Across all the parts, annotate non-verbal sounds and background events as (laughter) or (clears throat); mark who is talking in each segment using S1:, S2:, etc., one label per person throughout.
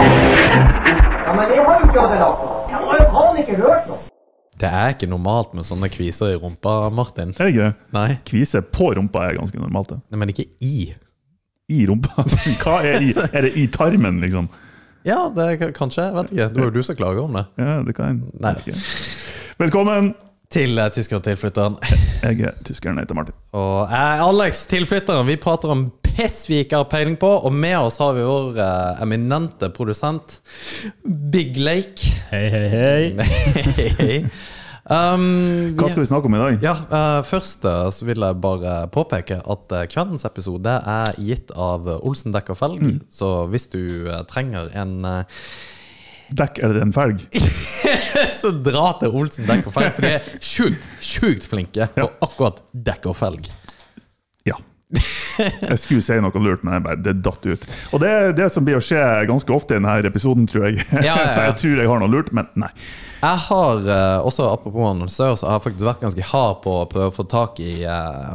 S1: Ja, men det har jo ikke Adela på. Jeg har jo faen ikke hørt noe.
S2: Det er ikke normalt med sånne kviser i rumpa, Martin.
S3: Er det ikke det?
S2: Nei,
S3: Kvise på rumpa er ganske normalt, det.
S2: Nei, men ikke i.
S3: I rumpa? (laughs) Hva er i? Er det i tarmen, liksom?
S2: Ja, det er k- kanskje. jeg Vet ikke. Det var jo du som klager om det.
S3: Ja, det kan
S2: Nei.
S3: Ok. Velkommen!
S2: Til eh, tysker-tilflytteren.
S3: Jeg er tyskeren, jeg heter Martin.
S2: (laughs) Og jeg er Alex, tilflytteren. Vi prater om piss vi ikke har peiling på. Og med oss har vi vår eh, eminente produsent Big Lake.
S4: Hei, hei,
S2: (laughs)
S4: hei.
S2: um,
S3: Hva skal vi snakke om i dag?
S2: Ja, eh, Først eh, så vil jeg bare påpeke at eh, kveldens episode er gitt av eh, Olsen Dekker Felg.
S3: Mm.
S2: Så hvis du eh, trenger en eh, (laughs)
S3: Dekk eller en felg?
S2: Så dra til Olsen Dekker Felg, for de er sjukt, sjukt flinke på akkurat Dekker Felg.
S3: Ja. Jeg skulle si noe lurt, men jeg bare, det datt ut. Og det er det som blir å skje ganske ofte i denne episoden, tror jeg.
S2: ja, ja.
S3: (laughs) Så jeg tror jeg har noe lurt, men nei.
S2: Jeg har eh, også apropos annonsør, så har jeg faktisk vært ganske hard på å prøve å få tak i eh,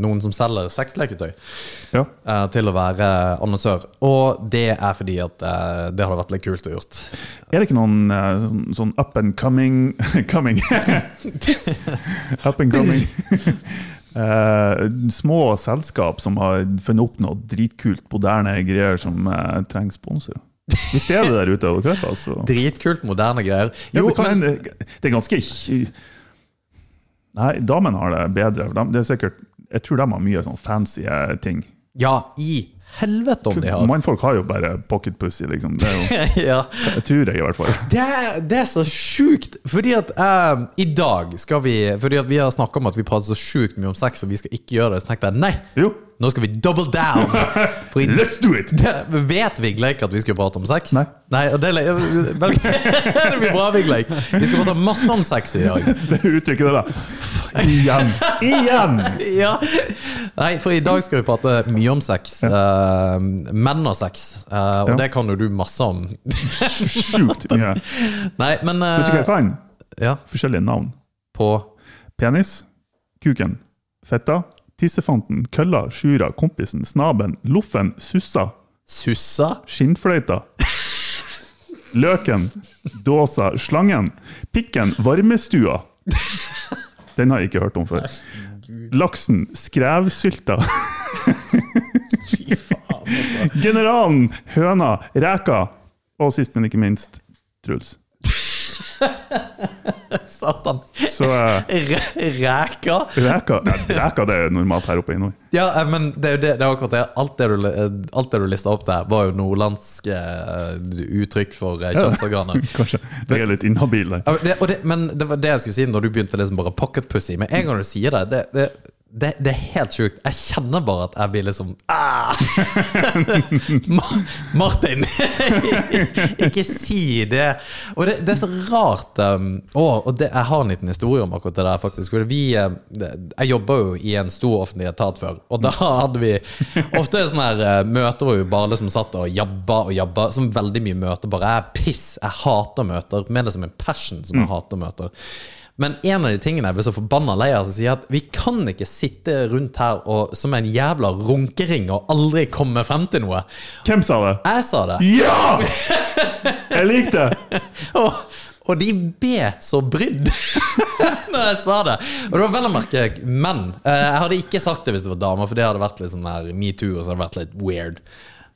S2: noen som selger sexleketøy.
S3: Ja.
S2: eh, Til å være annonsør. Og det er fordi at eh, det hadde vært litt kult å gjort.
S3: Er det ikke noen eh, sånn, sånn up and coming (laughs)
S2: (laughs)
S3: Coming! up and coming. (laughs) Eh, små selskap som har funnet opp noe dritkult, moderne greier som eh, trenger sponsor. Hvis det er det der ute, og dere hører, altså
S2: Dritkult, moderne greier.
S3: ja,
S2: Jo,
S3: det, kan,
S2: men
S3: hende- det er ganske kj- Nei, damene har det bedre. De, det er sikkert, jeg tror de har mye sånn fancy eh, ting.
S2: Ja, i helvete om de har!
S3: Mannfolk har jo bare pocket pussy, liksom. Det er jo,
S2: (laughs) ja.
S3: jeg tror jeg, i hvert fall.
S2: Det, er- det er så sjukt! Fordi at eh, i dag skal vi Fordi at vi har snakka om at vi prater så sjukt mye om sex, og vi skal ikke gjøre det. Så tenkte jeg nei,
S3: Jo,
S2: nå skal vi double
S3: (laughs)
S2: down! For i,
S3: let's do it!
S2: det, vet Vigleik at vi skal prate om sex?
S3: Nei.
S2: og det, er le- (laughs) vel, det blir bra, Vigleik. Vi skal prate masse om sex i
S3: (laughs)
S2: dag.
S3: Det uttrykket der, da. Igjen! Igjen!
S2: Ja. Nei, for i dag skal vi prate mye om sex. eh, menn og sex. eh, og
S3: Ja.
S2: det kan jo du masse om. (laughs)
S3: Sjukt mye.
S2: Nei, men eh,
S3: Vet du hva jeg kan?
S2: Ja,
S3: Forskjellige navn.
S2: på
S3: Penis, kuken, fetta, tissefanten, kølla, sjura, kompisen, snaben, loffen, sussa,
S2: Sussa.
S3: skinnfløyta. Løken, dåsa, slangen, pikken, varmestua. Den har jeg ikke hørt om før. Laksen, skrevsylta. (laughs)
S2: altså.
S3: Generalen, høna, reka. Og sist, men ikke minst, Truls.
S2: (laughs) Satan.
S3: Så eh,
S2: Re- Ræka?
S3: reka, nei, reka det er normalt her oppe i nord.
S2: Ja, eh, men det er jo det, det er akkurat det. Alt det du, eh, alt det du lista opp der, var jo nordlandske eh, uttrykk for eh, (laughs) kjønnsorganer.
S3: (laughs) Kanskje. Jeg er litt inhabil der.
S2: Ja, men det, og det, men det var det jeg skulle si når du begynte liksom bare pocket pussy. Med en gang du sier det, det, det det, det er helt sjukt. Jeg kjenner bare at jeg blir liksom ah! Ma- Martin! (laughs) Ikke si det! Og det, det er så rart. Um, å, og det, jeg har en liten historie om akkurat det der, faktisk. Fordi vi, eh, det- jeg jobba jo i en stor offentlig etat før, og da hadde vi ofte sånne her eh, møter hvor vi bare liksom satt og jabba og jabba, som veldig mye møter bare er piss. Jeg hater møter, med det som en passion som jeg hater møter. Men en av de tingene jeg ble så forbanna lei av, så sier jeg at vi kan ikke sitte rundt her og, som en jævla runkering og aldri komme frem til noe.
S3: Hvem sa det?
S2: Jeg sa det.
S3: Ja! Jeg likte det!
S2: Og, og de ble så brydd (laughs) når jeg sa det. Og det var vel å merke menn. Eh, Jeg hadde ikke sagt det hvis det var damer, for det hadde vært litt sånn her metoo, og så hadde det vært litt weird.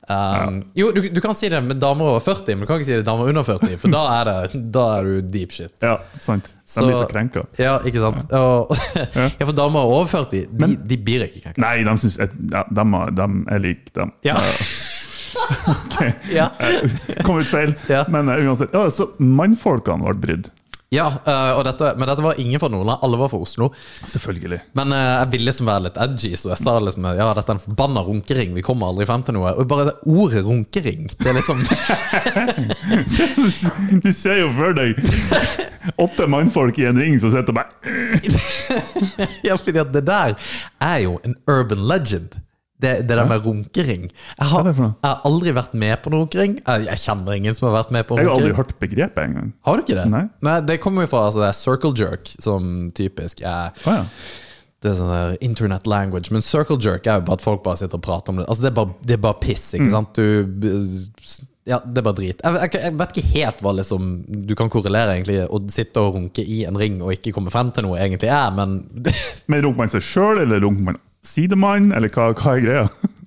S2: Um, Jo, du, du kan si det med damer over 40, men du kan ikke si det med damer under 40, for da er, det, da er du deep shit.
S3: Ja, sant. De blir så krenka.
S2: Ja, ikke sant? Og, (laughs) ja, for damer over 40, de, de blir ikke krenka.
S3: Nei, de syns jeg- ja, dem har- dem- Jeg liker dem.
S2: Ja. (laughs)
S3: Ok.
S2: Ja.
S3: (laughs) Kom ut feil.
S2: Ja.
S3: Men eh, uansett. Ja, så mannfolkene ble brydd.
S2: Ja, eh, og dette, men dette var ingen fra Nordland, alle var fra Oslo.
S3: Selvfølgelig.
S2: Men eh, jeg ville liksom være litt edgy, så jeg sa liksom ja, dette er en forbanna runkering, vi kommer aldri frem til noe. Og bare det ordet runkering, det er liksom
S3: (laughs)
S2: (laughs)
S3: Du ser jo for deg åtte mannfolk i en ring som sitter og bare
S2: Ja, fordi at det der er jo en urban legend. Det, det der med runkering. Jeg har,
S3: Hva er det for noe?
S2: jeg har aldri vært med på en runkering. Jeg, jeg kjenner ingen som har vært med på
S3: Jeg har
S2: runkering.
S3: aldri hørt begrepet engang.
S2: Har du ikke det?
S3: Nei.
S2: Det kommer jo fra altså, det er circle jerk, som typisk er
S3: Å ja.
S2: Det er sånn der internet language. Men circle jerk er jo bare at folk bare sitter og prater om det. Altså, det er bare, det er bare piss, ikke
S3: Mm.
S2: sant? Du Ja, det er bare drit. Jeg, jeg, jeg vet ikke helt hva liksom du kan korrelere, egentlig, å sitte og runke i en ring og ikke komme frem til noe, egentlig er, men (laughs) det,
S3: Men runker man seg sjøl, eller runker man sidemann, eller hva, hva er greia?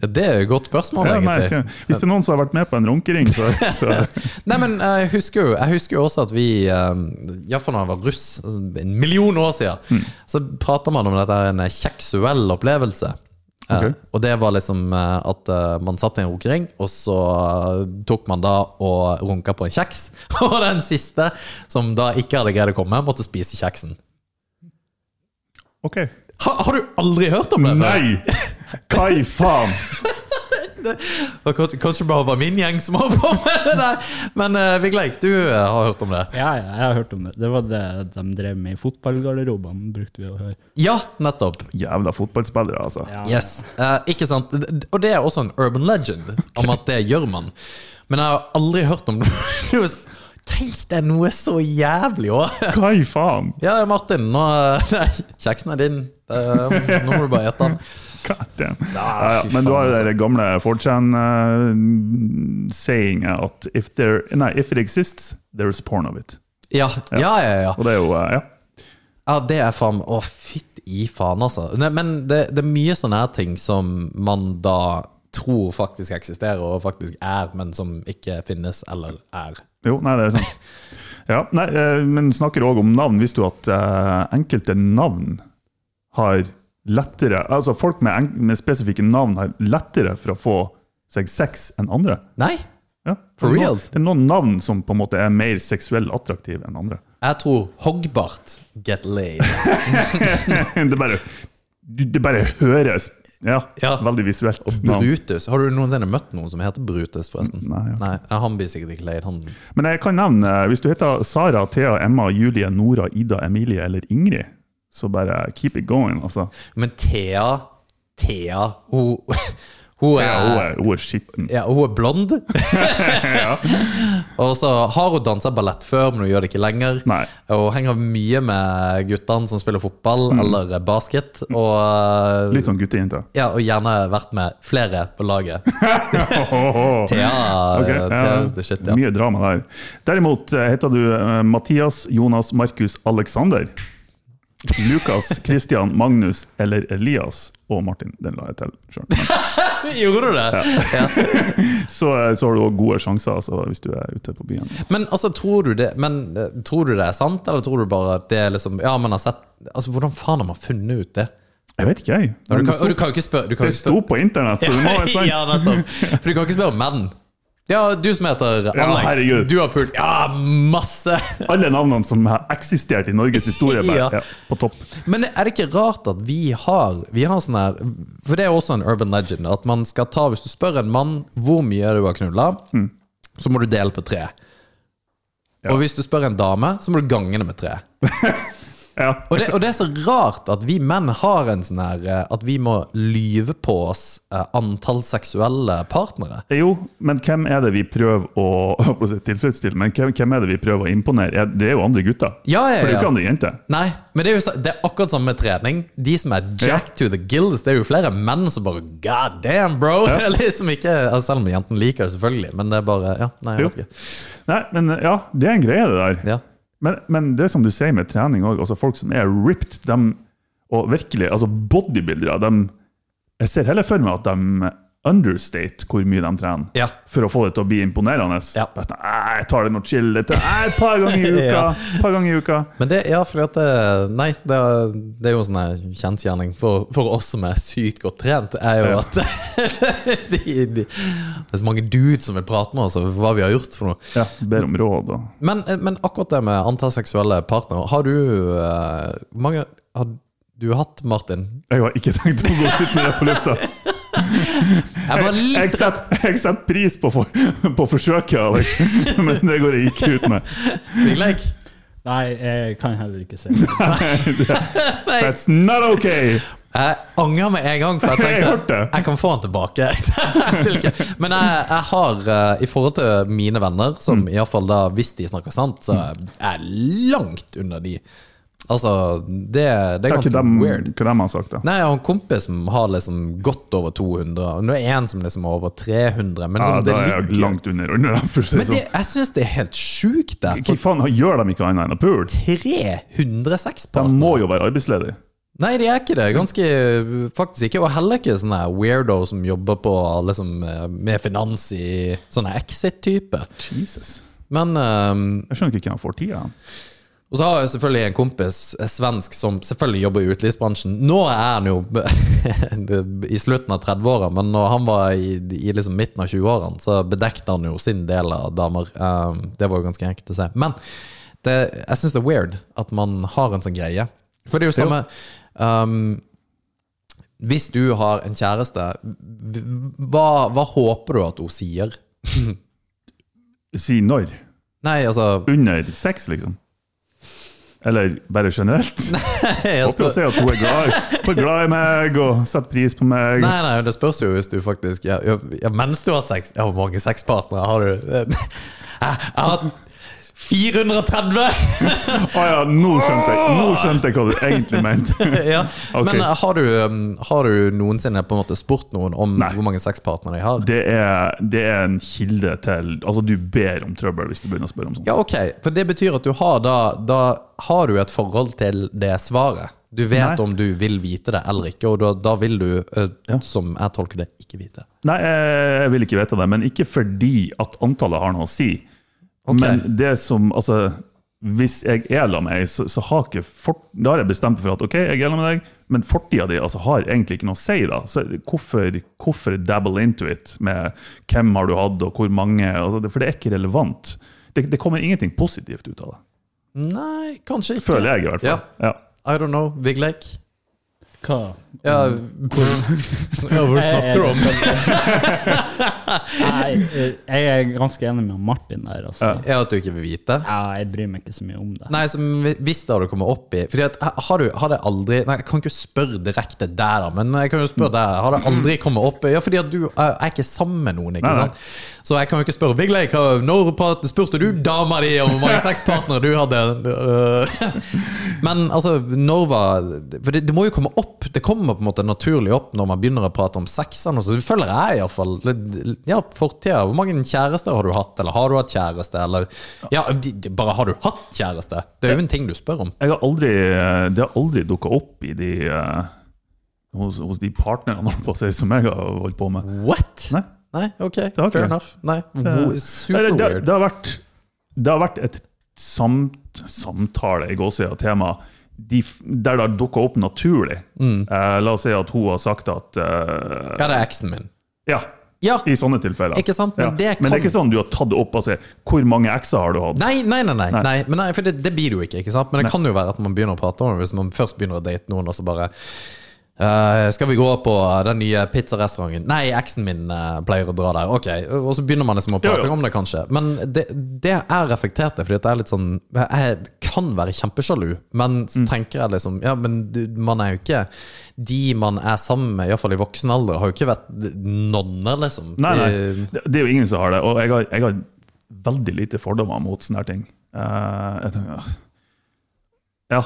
S2: det er jo et godt spørsmål,
S3: Ja, nei,
S2: egentlig.
S3: ikke. Hvis det er noen som har vært med på en runkering, så, så
S2: Nei, men jeg husker jo, jeg husker jo også at vi, eh, iallfall da jeg var russ, altså, en million år siden,
S3: Mm.
S2: så prater man om dette er en eh, kjeksuell opplevelse. Eh,
S3: Ok.
S2: og det var liksom eh, at eh, man satt i en runkering, og så eh, tok man da og runka på en kjeks. (laughs) Og den siste, som da ikke hadde greid å komme, måtte spise kjeksen.
S3: OK.
S2: Ha, har du aldri hørt om det?
S3: Nei! Hva i faen?
S2: Det kan- Kanskje bare var min gjeng som holdt (laughs) på med det der. Men eh, Vigleik, du eh, har hørt om det?
S4: Ja, ja, jeg har hørt om det. Det var det de drev med i fotballgarderobene, brukte vi å høre.
S2: Ja, nettopp.
S3: Jævla fotballspillere, altså.
S4: Ja.
S2: Yes, eh, ikke sant? Og det er også en urban legend om at det gjør man. Men jeg har aldri hørt om (laughs) noe s- Tenk deg noe så jævlig òg!
S3: Hva i faen?
S2: Ja, Martin, nå, eh, (laughs) nei, kjeksen er din. Eh, Nå må du bare ete den.
S3: God damn.
S2: Ja,
S3: Ja, ja,
S2: fy
S3: men
S2: faen,
S3: du har
S2: altså.
S3: jo det der gamle 4chan-sayinga at if, there, nei, if it exists, there is porn of it.
S2: Ja, ja, ja. ja.
S3: Og det er jo eh, ja.
S2: Ja, det er faen Å, fytt i faen, altså. Nei, men det, det er mye sånne her ting som man da tror faktisk eksisterer, og faktisk er, men som ikke finnes eller er.
S3: Jo, nei, det er sant.
S2: (laughs)
S3: Ja, nei, eh, men snakker òg om navn. Visste du at eh, enkelte navn har lettere Altså folk med, enk- med spesifikke navn har lettere for å få seg sex enn andre?
S2: Nei?
S3: Ja,
S2: For
S3: det er noen-
S2: reals?
S3: Det er noen navn som på en måte er mer seksuelt attraktive enn andre. (laughs)
S2: Jeg tror Hogbart get laid.
S3: det bare Det bare høres ja,
S2: Ja.
S3: veldig visuelt. navn.
S2: Brutus. Har du noensinne møtt noen som heter Brutus, forresten?
S3: Nei, jeg har ikke.
S2: ja, Han blir sikkert ikke leid, han.
S3: Men jeg kan nevne, eh, hvis du heter Sara, Thea, Emma, Julie, Nora, Ida, Emilie eller Ingrid, så bare keep it going, altså.
S2: Men Thea Thea, hun, hun
S3: Thea, hun
S2: er
S3: er, hun er skitten.
S2: ja, hun er
S3: (laughs)
S2: blond. Og så har hun dansa ballett før, men hun gjør det ikke lenger.
S3: Nei.
S2: Og hun henger mye med guttene som spiller fotball eller basket. Og,
S3: Mm.
S2: eh,
S3: Litt sånn
S2: (laughs)
S3: guttejente.
S2: ja, og gjerne vært med flere på laget. Thea,
S3: (laughs) Ok,
S2: Thea
S3: ja,
S2: is the shit, ja.
S3: Mye drama der. Derimot eh, heter du eh, Mathias, Jonas, Markus, Alexander. Lukas,
S2: (laughs)
S3: Kristian, Magnus eller Elias. Og Martin. Den la jeg til sjøl.
S2: Gjorde du det?
S3: så, eh, så har du òg gode sjanser altså, hvis du er ute på byen.
S2: Men altså, tror du det Men eh, tror du det er sant, eller tror du bare at det er liksom Ja, man har sett Altså, hvordan faen har man funnet ut det?
S3: Jeg vet ikke, jeg.
S2: Og
S3: Men
S2: du
S3: det
S2: kan, og du
S3: sto-
S2: kan jo ikke spørre du kan
S3: det
S2: jo ikke
S3: sto på
S2: (laughs)
S3: internett, så det må være sånn-
S2: spørre,
S3: sant.
S2: Ja, nettopp. For du kan ikke spørre menn. Ja, du som heter
S3: Ja,
S2: Alex,
S3: herregud.
S2: du har pult Ja, masse! (laughs)
S3: Alle navnene som har eksistert i Norges historie,
S2: Ja.
S3: bare, ja, på topp.
S2: Men er det ikke rart at vi har Vi har sånn her For det er også en urban legend at man skal ta Hvis du spør en mann hvor mye du har knulla, så må du dele på tre.
S3: Mm. Ja.
S2: Og hvis du spør en dame, så må du gange det med tre.
S3: Ja.
S2: Og det, og det er så rart at vi menn har en sånn her eh, At vi må lyve på oss eh, antall seksuelle partnere.
S3: Eh, Jo, men hvem er det vi prøver å, (laughs) jeg holdt på å si tilfredsstille? Men hvem, hvem er det vi prøver å imponere? Er- Det er jo andre gutter.
S2: Ja, ja,
S3: For det er jo
S2: ja.
S3: ikke andre jenter.
S2: Nei, men det er jo så- det er akkurat samme med trening. De som er jack to the gills, det er jo flere menn som bare God damn, bro! (laughs) Det er liksom ikke, altså, selv om jentene liker det, selvfølgelig. Men det er bare Ja, nei, jeg vet
S3: Jo.
S2: ikke.
S3: Nei, men eh, ja, det er en greie, det der.
S2: Ja.
S3: Men, men det som du sier med trening òg, altså folk som er ripped, dem, og virkelig altså bodybuildere dem, Jeg ser heller for meg at de understate hvor mye de trener.
S2: Ja.
S3: For å få det til å bli imponerende.
S2: Ja.
S3: Bare sånn, «Æ, jeg tar det noe chill det tar- «Æ, et par
S2: (laughs)
S3: ganger i uka.
S2: Ja.
S3: par ganger i uka.
S2: Men det, ja, fordi at det, Nei, det, er- det er jo en sånn her kjensgjerning for, for oss som er sykt godt trent, er jo
S3: Ja.
S2: at (laughs) de, de, Det er så mange dudes som vil prate med oss om hva vi har gjort for noe.
S3: Ja, Ber om råd og
S2: Men, eh, men akkurat det med antall seksuelle partnere, har du eh, Hvor mange har du hatt, Martin?
S3: Jeg har ikke tenkt å gå ut med det på lufta.
S2: Jeg var
S3: Jeg
S2: litt
S3: setter jeg setter pris på, for, på forsøket, Alex, (laughs) men det går jeg ikke ut med.
S2: Vigleik.
S4: Nei, jeg kan heller ikke se det.
S3: That's not okay!
S2: Jeg angrer med en gang, for jeg
S3: (laughs) Jeg hørte
S2: tenkte
S3: det.
S2: jeg kan få han tilbake. (laughs) Jeg vil ikke. Men jeg, jeg har, eh, i forhold til mine venner, som
S3: Mm.
S2: i hvert fall da, hvis de snakker sant, så er jeg langt under de. Altså, det, det er
S3: Hva
S2: ganske
S3: dem,
S2: weird.
S3: hva dem har sagt, da?
S2: Nei, jeg har en kompis som har liksom godt over 200. Nå er det en som liksom er over 300. Men
S3: Ja,
S2: liksom,
S3: da
S2: det
S3: er jeg
S2: ligger
S3: langt under. under dem, for å si det
S2: Men det, altså-
S3: sånn.
S2: jeg syns det er helt sjukt, det.
S3: Hva
S2: For
S3: faen gjør de ikke annet enn å pule?
S2: 300
S3: De må
S2: sexpartnere.
S3: jo være arbeidsledige.
S2: Nei, de er ikke det. Ganske faktisk ikke. Og heller ikke sånne her weirdo som jobber på liksom, med finans i sånne Exit-type.
S3: Jesus.
S2: Men ehm,
S3: Jeg skjønner ikke hva han får tida av.
S2: Og så har jeg selvfølgelig en kompis, en svensk, som selvfølgelig jobber i utelivsbransjen. Nå er han jo (laughs) i slutten av 30-åra, men når han var i, i liksom midten av 20-årene, så bedekte han jo sin del av damer. Um, det var jo ganske enkelt å se. Men det, jeg syns det er weird at man har en sånn greie. For det er jo samme um, Hvis du har en kjæreste, hva, hva håper du at hun sier?
S3: Si når.
S2: Nei, altså
S3: Under sex, liksom. Eller bare generelt.
S2: jeg
S3: Håper å se at hun er glad, hun er glad i meg og setter pris på meg.
S2: Nei, nei, det spørs jo hvis du faktisk ja, ja, ja, Mens du har sex Ja, hvor mange sexpartnere har du? (laughs) Jeg, jeg har hatt (laughs) 430!
S3: Å ja, nå skjønte, jeg, nå skjønte jeg hva du egentlig mente.
S2: ja.
S3: Ok.
S2: Men eh, har du, um, har du noensinne på en måte spurt noen om
S3: Nei.
S2: hvor mange sexpartnere de har?
S3: Det er, det er en kilde til Altså, du ber om trøbbel hvis du begynner å spørre om sånt.
S2: Ja, ok, for det betyr at du har da Da har du et forhold til det svaret. Du vet
S3: Nei.
S2: om du vil vite det eller ikke, og da, da vil du, eh,
S3: Ja.
S2: som jeg tolker det, ikke vite.
S3: Nei, jeg jeg vil ikke vite det, men ikke fordi at antallet har noe å si. Men det som Altså, hvis jeg er la med ei, så, så har ikke fort, da har jeg bestemt for at OK, jeg er la med deg, men fortida di altså, har egentlig ikke noe å si, da. Så hvorfor, hvorfor dabble into it med hvem har du hatt, og hvor mange? Altså, det- for det er ikke relevant. Det, det kommer ingenting positivt ut av det.
S2: Nei, kanskje ikke.
S3: Føler jeg, i hvert fall. Ja.
S2: I don't know. Vigleik?
S4: Hva?
S2: Ja,
S3: (laughs)
S2: ja, hvor snakker du om?
S4: (laughs) Nei, eh, jeg er ganske enig med Martin der, altså.
S3: Ja.
S2: Er at du ikke vil vite?
S4: Ja, jeg bryr meg ikke så mye om det.
S2: Nei, så hvis det hadde kommet opp i Fordi at har, du, har det aldri Nei, jeg kan ikke spørre direkte der, da, men jeg kan jo spørre der. Har det aldri kommet opp i Ja, fordi at du eh, er ikke sammen med noen, ikke
S3: Nei, nei.
S2: sant? Så jeg kan jo ikke spørre Vigleik, hva- når prat- spurte du dama di om hvor
S3: (laughs)
S2: mange sexpartnere du hadde? Øh. Men altså, når var For det, det må jo komme opp. Det kommer på en måte naturlig opp når man begynner å prate om sexene og så. Det føler jeg iallfall. Ja, fortida. Hvor mange kjærester har du hatt, eller har du hatt kjæreste, eller Ja, de- de- bare har du hatt kjæreste? Det er jo en ting du spør om.
S3: Jeg har aldri, det har aldri dukka opp i de, eh, hos, hos de partnerne holdt på å si, som jeg har holdt på med.
S2: What?
S3: Nei.
S2: Nei, ok,
S3: har ikke
S2: fair
S3: det.
S2: enough. Nei,
S3: Eller,
S2: wo- super
S3: det, det,
S2: weird.
S3: har vært, det har vært et samt, samtale i gåsøya tema de, f- der det har dukka opp naturlig.
S2: Mm.
S3: Eh, la oss si at hun har sagt at eh,
S2: Ja, det er eksen min.
S3: Ja,
S2: Ja,
S3: i sånne tilfeller.
S2: Ikke sant, men
S3: ja.
S2: det
S3: men det
S2: kan-
S3: er ikke sånn du har tatt det opp og sier 'Hvor mange ekser har du hatt?'
S2: Nei, nei, nei, nei,
S3: Nei.
S2: nei. Men nei for det, det blir det jo ikke. ikke sant? Men det kan jo være at man begynner å prate om det hvis man først begynner å date noen, og så bare eh, skal vi gå på den nye pizzarestauranten? Nei, eksen min eh, pleier å dra der. Ok, Og så begynner man liksom å
S3: Ja,
S2: prate
S3: ja.
S2: om det, kanskje. Men det, det jeg reflekterte, fordi at jeg er litt sånn Jeg kan være kjempesjalu, men så
S3: Mm.
S2: tenker jeg liksom Ja, men du, man er jo ikke De man er sammen med, iallfall i voksen alder, har jo ikke vært nonner, liksom.
S3: Nei,
S2: De-
S3: nei. Det, det er jo ingen som har det. Og jeg har, jeg har veldig lite fordommer mot sånne her ting. Eh, jeg tenker, ja. ja,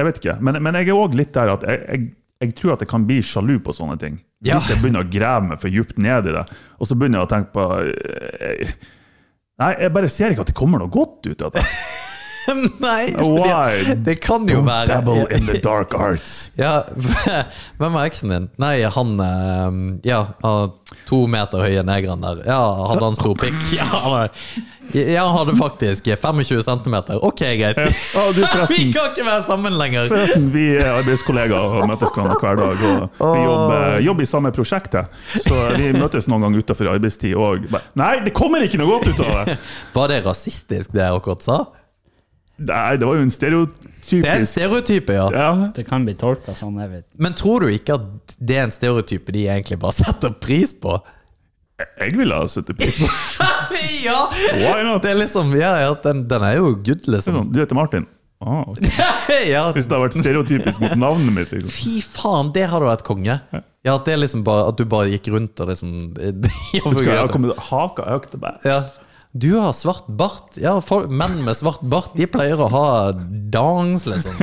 S3: jeg vet ikke. Men, men jeg er òg litt der at jeg, jeg, jeg tror at jeg kan bli sjalu på sånne ting. Hvis
S2: Ja.
S3: jeg begynner å grave meg for djupt ned i det, og så begynner jeg å tenke på eh, Nei, jeg bare ser ikke at det kommer noe godt ut av det.
S2: (laughs) nei fordi at-
S3: Why?
S2: Det kan (laughs) jo
S3: Don't
S2: være
S3: dabble in the dark arts.
S2: (laughs) ehm, Ja, hvem er eksen din? Nei, han eh, Ja, han- to meter høye negeren der. Ja, hadde han stor pikk? (laughs) Ja, han- ja, han hadde faktisk 25 cm. Ok, greit.
S3: Å,
S2: (laughs)
S3: du,
S2: Vi
S3: forresten.
S2: kan ikke være sammen lenger!
S3: Forresten, vi er arbeidskollegaer og møtes hver hver dag. Og vi jobber, jobber i samme prosjektet, så vi møtes noen ganger utenfor arbeidstid òg. Nei, det kommer ikke noe godt ut av det!
S2: Var det rasistisk, det jeg akkurat sa?
S3: Nei, det var jo en
S2: Det er en
S3: stereotypisk
S2: stereotype, ja.
S3: ja.
S4: Det kan bli tolka sånn, jeg vet.
S2: Men tror du ikke at det er en stereotype de egentlig bare (laughs) setter pris på?
S3: Jeg ville ha satt pris på
S2: ja!
S3: Why not?
S2: Det er liksom, ja, ja den, den er jo good,
S3: det.
S2: liksom.
S3: Sånn, du heter Martin? Ah, ok.
S2: (laughs) ja.
S3: Hvis det har vært stereotypisk mot navnet mitt, liksom.
S2: Fy faen, det hadde vært konge. Ja, at, det er liksom bare, at du bare gikk rundt og liksom (laughs)
S3: Vet du hva, jeg har kommet haka økt til meg.
S2: ja. Du har svart bart. Ja, folk, menn med svart bart, de pleier å ha dongs, liksom.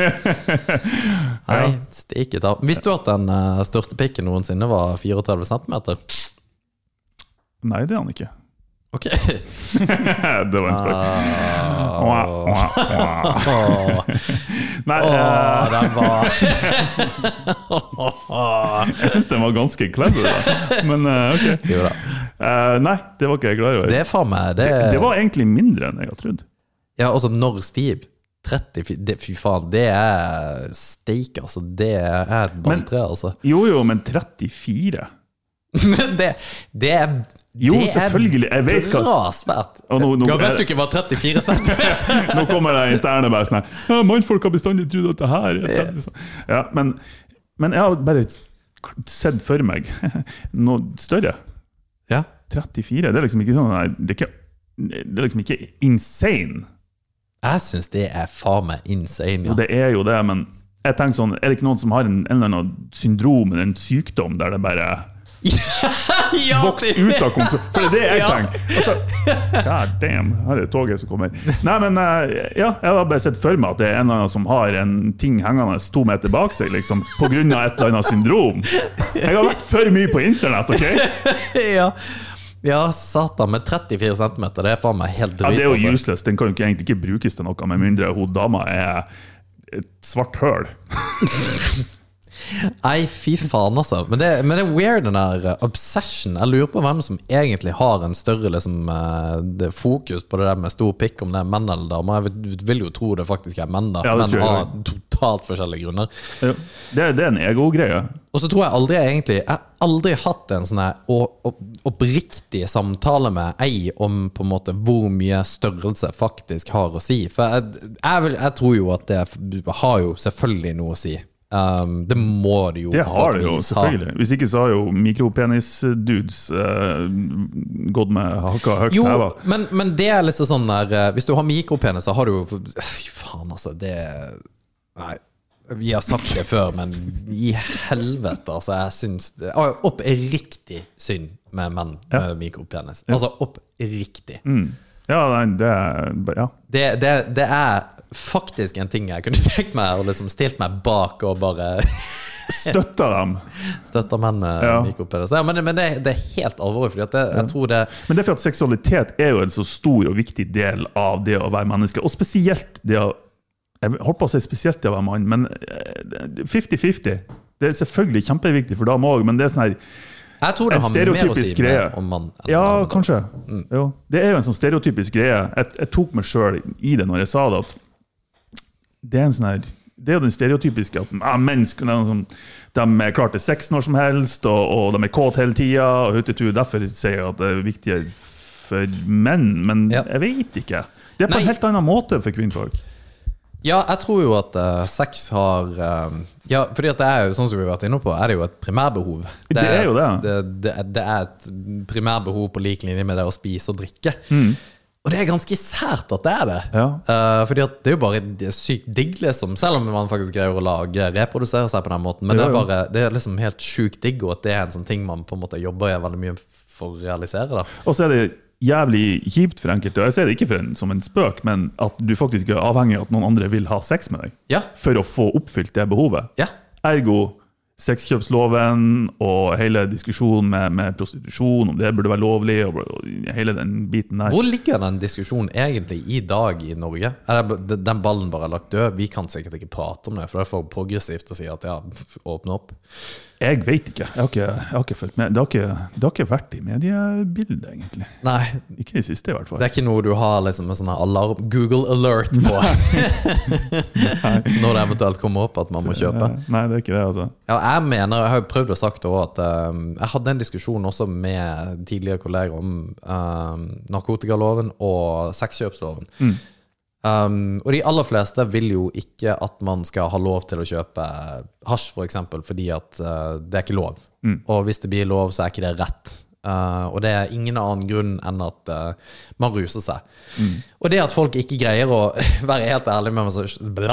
S2: Nei, stikke ta. Visste du at den eh, største pikken noensinne var 34 cm?
S3: Nei, det er han ikke.
S2: Ok. (laughs)
S3: Det var en spøk. Mwah, mwah, mwah.
S2: Åh.
S3: Nei,
S2: Åh,
S3: eh,
S2: den var
S3: jeg syns den var ganske clever, da. Men eh, ok.
S2: Jo da.
S3: Eh, nei, det var ikke jeg klar over.
S2: Det
S3: Det,
S2: er faen meg det,
S3: det var egentlig mindre enn jeg hadde trodd.
S2: Ja, altså, når stiv 30 fy- det, Fy faen, det er steik, altså. Det er et balltre, altså.
S3: Jo jo, men 34
S2: (laughs) Men det, det er
S3: Jo,
S2: det er
S3: selvfølgelig, jeg vet hva-
S2: Bra svært.
S3: Og nå- nå-
S2: ja, vet du ikke hva 34
S3: (laughs)
S2: cm
S3: Nå kommer det interne bare sånn her «Ja, Mannfolk har bestandig trodd at det her er tredje sånn». ja, men, men jeg har bare sett for meg (laughs) noe større.
S2: Ja.
S3: 34, det er liksom ikke sånn nei, det er, ikke, det er liksom ikke insane.
S2: Jeg syns det er faen meg insane. (laughs)
S3: Og
S2: Ja.
S3: det er jo det, men jeg tenker sånn, er det ikke noen som har en, en eller annen syndrom eller en sykdom der det bare
S2: ja,
S3: vokser
S2: det-
S3: ut av kontroll? For det er det jeg
S2: (laughs) Ja.
S3: tenker. Altså, God damn, her er det toget som kommer. Nei, men eh, ja, jeg har bare sett for meg at det er en eller annen som har en ting hengende to meter bak seg, liksom, på grunn av et eller annet syndrom. Jeg har vært for mye på internett,
S2: (laughs)
S3: OK?
S2: ja. ja, satan. Men 34 cm, det er faen meg helt
S3: Ja,
S2: drøyt.
S3: det er
S2: altså.
S3: jo useless. Den kan jo ikke, egentlig ikke brukes til noe, med mindre hun dama er et svart høl.
S2: Nei, fy faen, altså. Men det, men det er weird, den der eh, obsession. Jeg lurer på hvem som egentlig har en større liksom, eh, det, fokus på det der med stor pikk, om det er menn eller damer. Jeg vil- vil jo tro det faktisk er menn, da.
S3: Ja, det
S2: menn
S3: tror jeg
S2: har totalt forskjellige grunner.
S3: Det, det er en ego-greie.
S2: Og så tror jeg aldri jeg egentlig Jeg har aldri hatt en sånn her o- o- oppriktig samtale med ei om på en måte hvor mye størrelse faktisk har å si. For jeg, jeg, vil, jeg tror jo at det f- har jo selvfølgelig noe å si. Um, det må det jo.
S3: Det har det jo,
S2: automatisk ha.
S3: selvfølgelig. Hvis ikke så har jo mikropenis-dudes eh, gått med hakka høyt
S2: Jo,
S3: heva.
S2: men, men det er liksom sånn der eh, Hvis du har mikropenis, så har du jo Fy faen, altså. Det Nei. Vi har sagt det før, men i helvete, altså. Jeg syns det ah, Oppriktig synd med menn med mikropenis. Altså oppriktig.
S3: Ja, nei, det er ja.
S2: Det, det, det er faktisk en ting jeg kunne (laughs) tenkt meg å liksom stilt meg bak og bare (laughs)
S3: Støtta dem.
S2: støtte menn med
S3: Ja.
S2: mikropenis. Ja, men, men det, det er helt alvorlig, for jeg tror det
S3: Men det er for at seksualitet er jo en så stor og viktig del av det å være menneske, og spesielt det å Jeg holdt på å si spesielt det å være mann, men eh, 50-50. Det er selvfølgelig kjempeviktig for dem òg, men det er sånn her
S2: Jeg tror det
S3: En
S2: har mer å si
S3: stereotypisk
S2: med,
S3: greie.
S2: om mann enn
S3: Ja,
S2: dame, da.
S3: kanskje.
S2: Mm.
S3: Jo. Det er jo en sånn stereotypisk greie. Jeg, jeg tok meg sjøl i det når jeg sa det, at det er en sånn her det er jo den stereotypiske at ah, mennesker de, som, de er klar til sex når som helst, og, og de er kåte hele tida. og huttetu. Derfor sier jeg at det er viktigere for menn, men
S2: Ja.
S3: jeg vet ikke. Det er på
S2: Nei.
S3: en helt annen måte for kvinnfolk.
S2: Ja, jeg tror jo at eh, sex har eh, Ja, fordi at det er jo sånn som vi har vært inne på, er det jo et primærbehov.
S3: Det er jo
S2: et-
S3: det.
S2: Det, det, er- det er et primærbehov på lik linje med det å spise og drikke. Og det er ganske sært at det er det.
S3: Mm. Ja.
S2: Eh, fordi at det er jo bare det er sykt digg, liksom. Selv om man faktisk greier å lage reprodusere seg på den måten. Men
S3: Ja,
S2: det er
S3: ja.
S2: bare Det er liksom helt sjukt digg, og at det er en sånn ting man på en måte jobber veldig mye for å realisere. da
S3: Og så er det jævlig kjipt for enkelte, og jeg ser det ikke for en, som en spøk, men at du faktisk er avhengig av at noen andre vil ha sex med deg.
S2: Ja.
S3: for å få oppfylt det behovet.
S2: Ja.
S3: Ergo sexkjøpsloven og hele diskusjonen med, med prostitusjon, om det burde være lovlig, og, og hele den biten der.
S2: Hvor ligger den diskusjonen egentlig i dag i Norge? Er det, b- den ballen bare er lagt død? Vi kan sikkert ikke prate om det, for det er for progressivt å si at ja, pff, åpne opp.
S3: Jeg vet ikke. Jeg har ikke, jeg har ikke fulgt med. Det har ikke, det har ikke vært i mediebildet, egentlig.
S2: Nei,
S3: Ikke i det siste, i hvert fall.
S2: det er ikke noe du har liksom en sånn her alarm Google alert på (laughs) når det eventuelt kommer opp at man må kjøpe.
S3: Eh, Nei, det er ikke det, altså.
S2: Ja, jeg mener, jeg har jo prøvd å sagt det også, at ehm, jeg hadde en diskusjon også med tidligere kolleger om ehm, narkotikaloven og sexkjøpsloven. Ehm, og de aller fleste vil jo ikke at man skal ha lov til å kjøpe hasj, for eksempel, fordi at eh, det er ikke lov. Og hvis det blir lov, så er ikke det rett. Eh, og det er ingen annen grunn enn at eh, man ruser seg. Og det at folk ikke greier å (laughs) være helt ærlig med meg så- (laughs)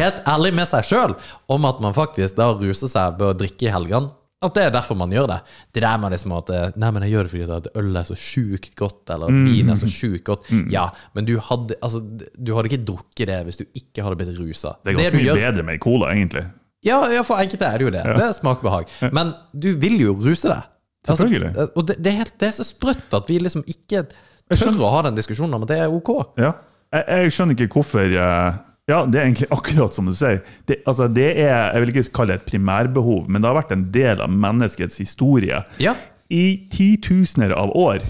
S2: helt ærlig med seg sjøl om at man faktisk da ruser seg ved å drikke i helgene. At det er derfor man gjør det. Det der med liksom at eh, Nei, men jeg gjør det fordi at øl er så sjukt godt, eller
S3: Mm.
S2: at vin er så sjukt godt. Ja, men du hadde, altså, du hadde ikke drukket det hvis du ikke hadde blitt rusa.
S3: Det er ganske mye bedre med cola, egentlig.
S2: Ja, ja, for enkelte er det jo det. Det er smakbehag. Men du vil jo ruse deg. Altså,
S3: Selvfølgelig.
S2: og det, det, er helt, det er så sprøtt at vi liksom ikke tør å ha den diskusjonen om at det er ok.
S3: Ja. Jeg, jeg skjønner ikke hvorfor eh, Ja, det er egentlig (laughs) akkurat som du sier. Det, altså, det er, jeg vil ikke kalle det et primærbehov, men det har vært en del av menneskets historie
S2: Ja.
S3: i titusener av år.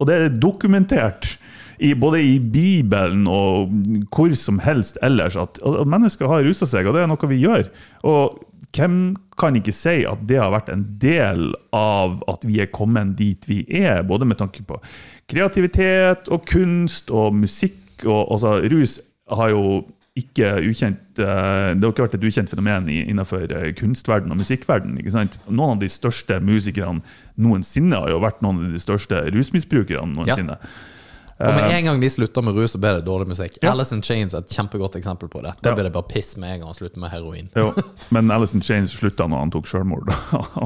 S3: Og det er dokumentert. I, både i Bibelen og hvor som helst ellers. At, at mennesker har rusa seg, og det er noe vi gjør. Og hvem kan ikke si at det har vært en del av at vi er kommet dit vi er? Både med tanke på kreativitet og kunst og musikk. Og, og så, rus har jo ikke ukjent eh, Det har ikke vært et ukjent fenomen i- innenfor eh, kunstverden og musikkverden. ikke sant? Noen av de største musikerne noensinne har jo vært noen av de største rusmisbrukerne noensinne.
S2: Og med
S3: Eh.
S2: en gang de slutter med rus, så blir det dårlig musikk. Alice in Chains er et kjempegodt eksempel på det. Da
S3: Ja.
S2: blir det bare piss med en gang han slutter med heroin.
S3: Jo, men Alison Chains slutta når han tok (laughs) sjølmord.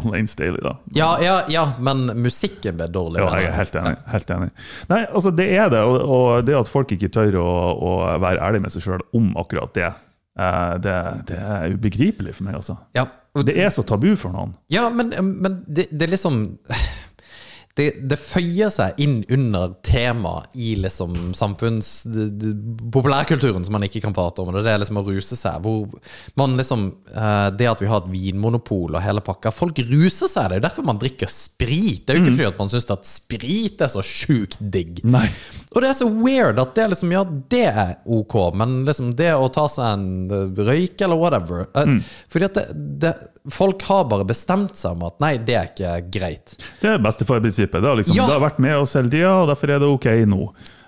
S3: Lane Staley, da.
S2: Ja, ja, ja, men musikken ble dårlig.
S3: Ja,
S2: mener
S3: jeg er helt enig. helt enig. Nei, altså Det er det, og, og det at folk ikke tør å, å være ærlig med seg sjøl om akkurat det, eh, det, det er ubegripelig for meg. altså.
S2: Ja, og
S3: Det er så tabu for noen.
S2: Ja, men, men det, det er liksom det, det føyer seg inn under temaet i liksom samfunns... d- d- populærkulturen som man ikke kan prate om. og Det er det liksom å ruse seg. Hvor man liksom, eh, det at vi har et vinmonopol og hele pakka Folk ruser seg! Det er jo derfor man drikker sprit. Det er jo ikke fordi at man syns at sprit er så sjukt digg.
S3: Nei.
S2: Og det er så weird at det er liksom Ja, det er ok, men liksom det å ta seg en eh, røyk eller whatever eh, Fordi at det, det, folk har bare bestemt seg om at nei, det er ikke greit.
S3: Det er bestefarprinsippet. Det, har liksom,
S2: Ja.
S3: det har vært med oss hele tida, og derfor er det OK nå.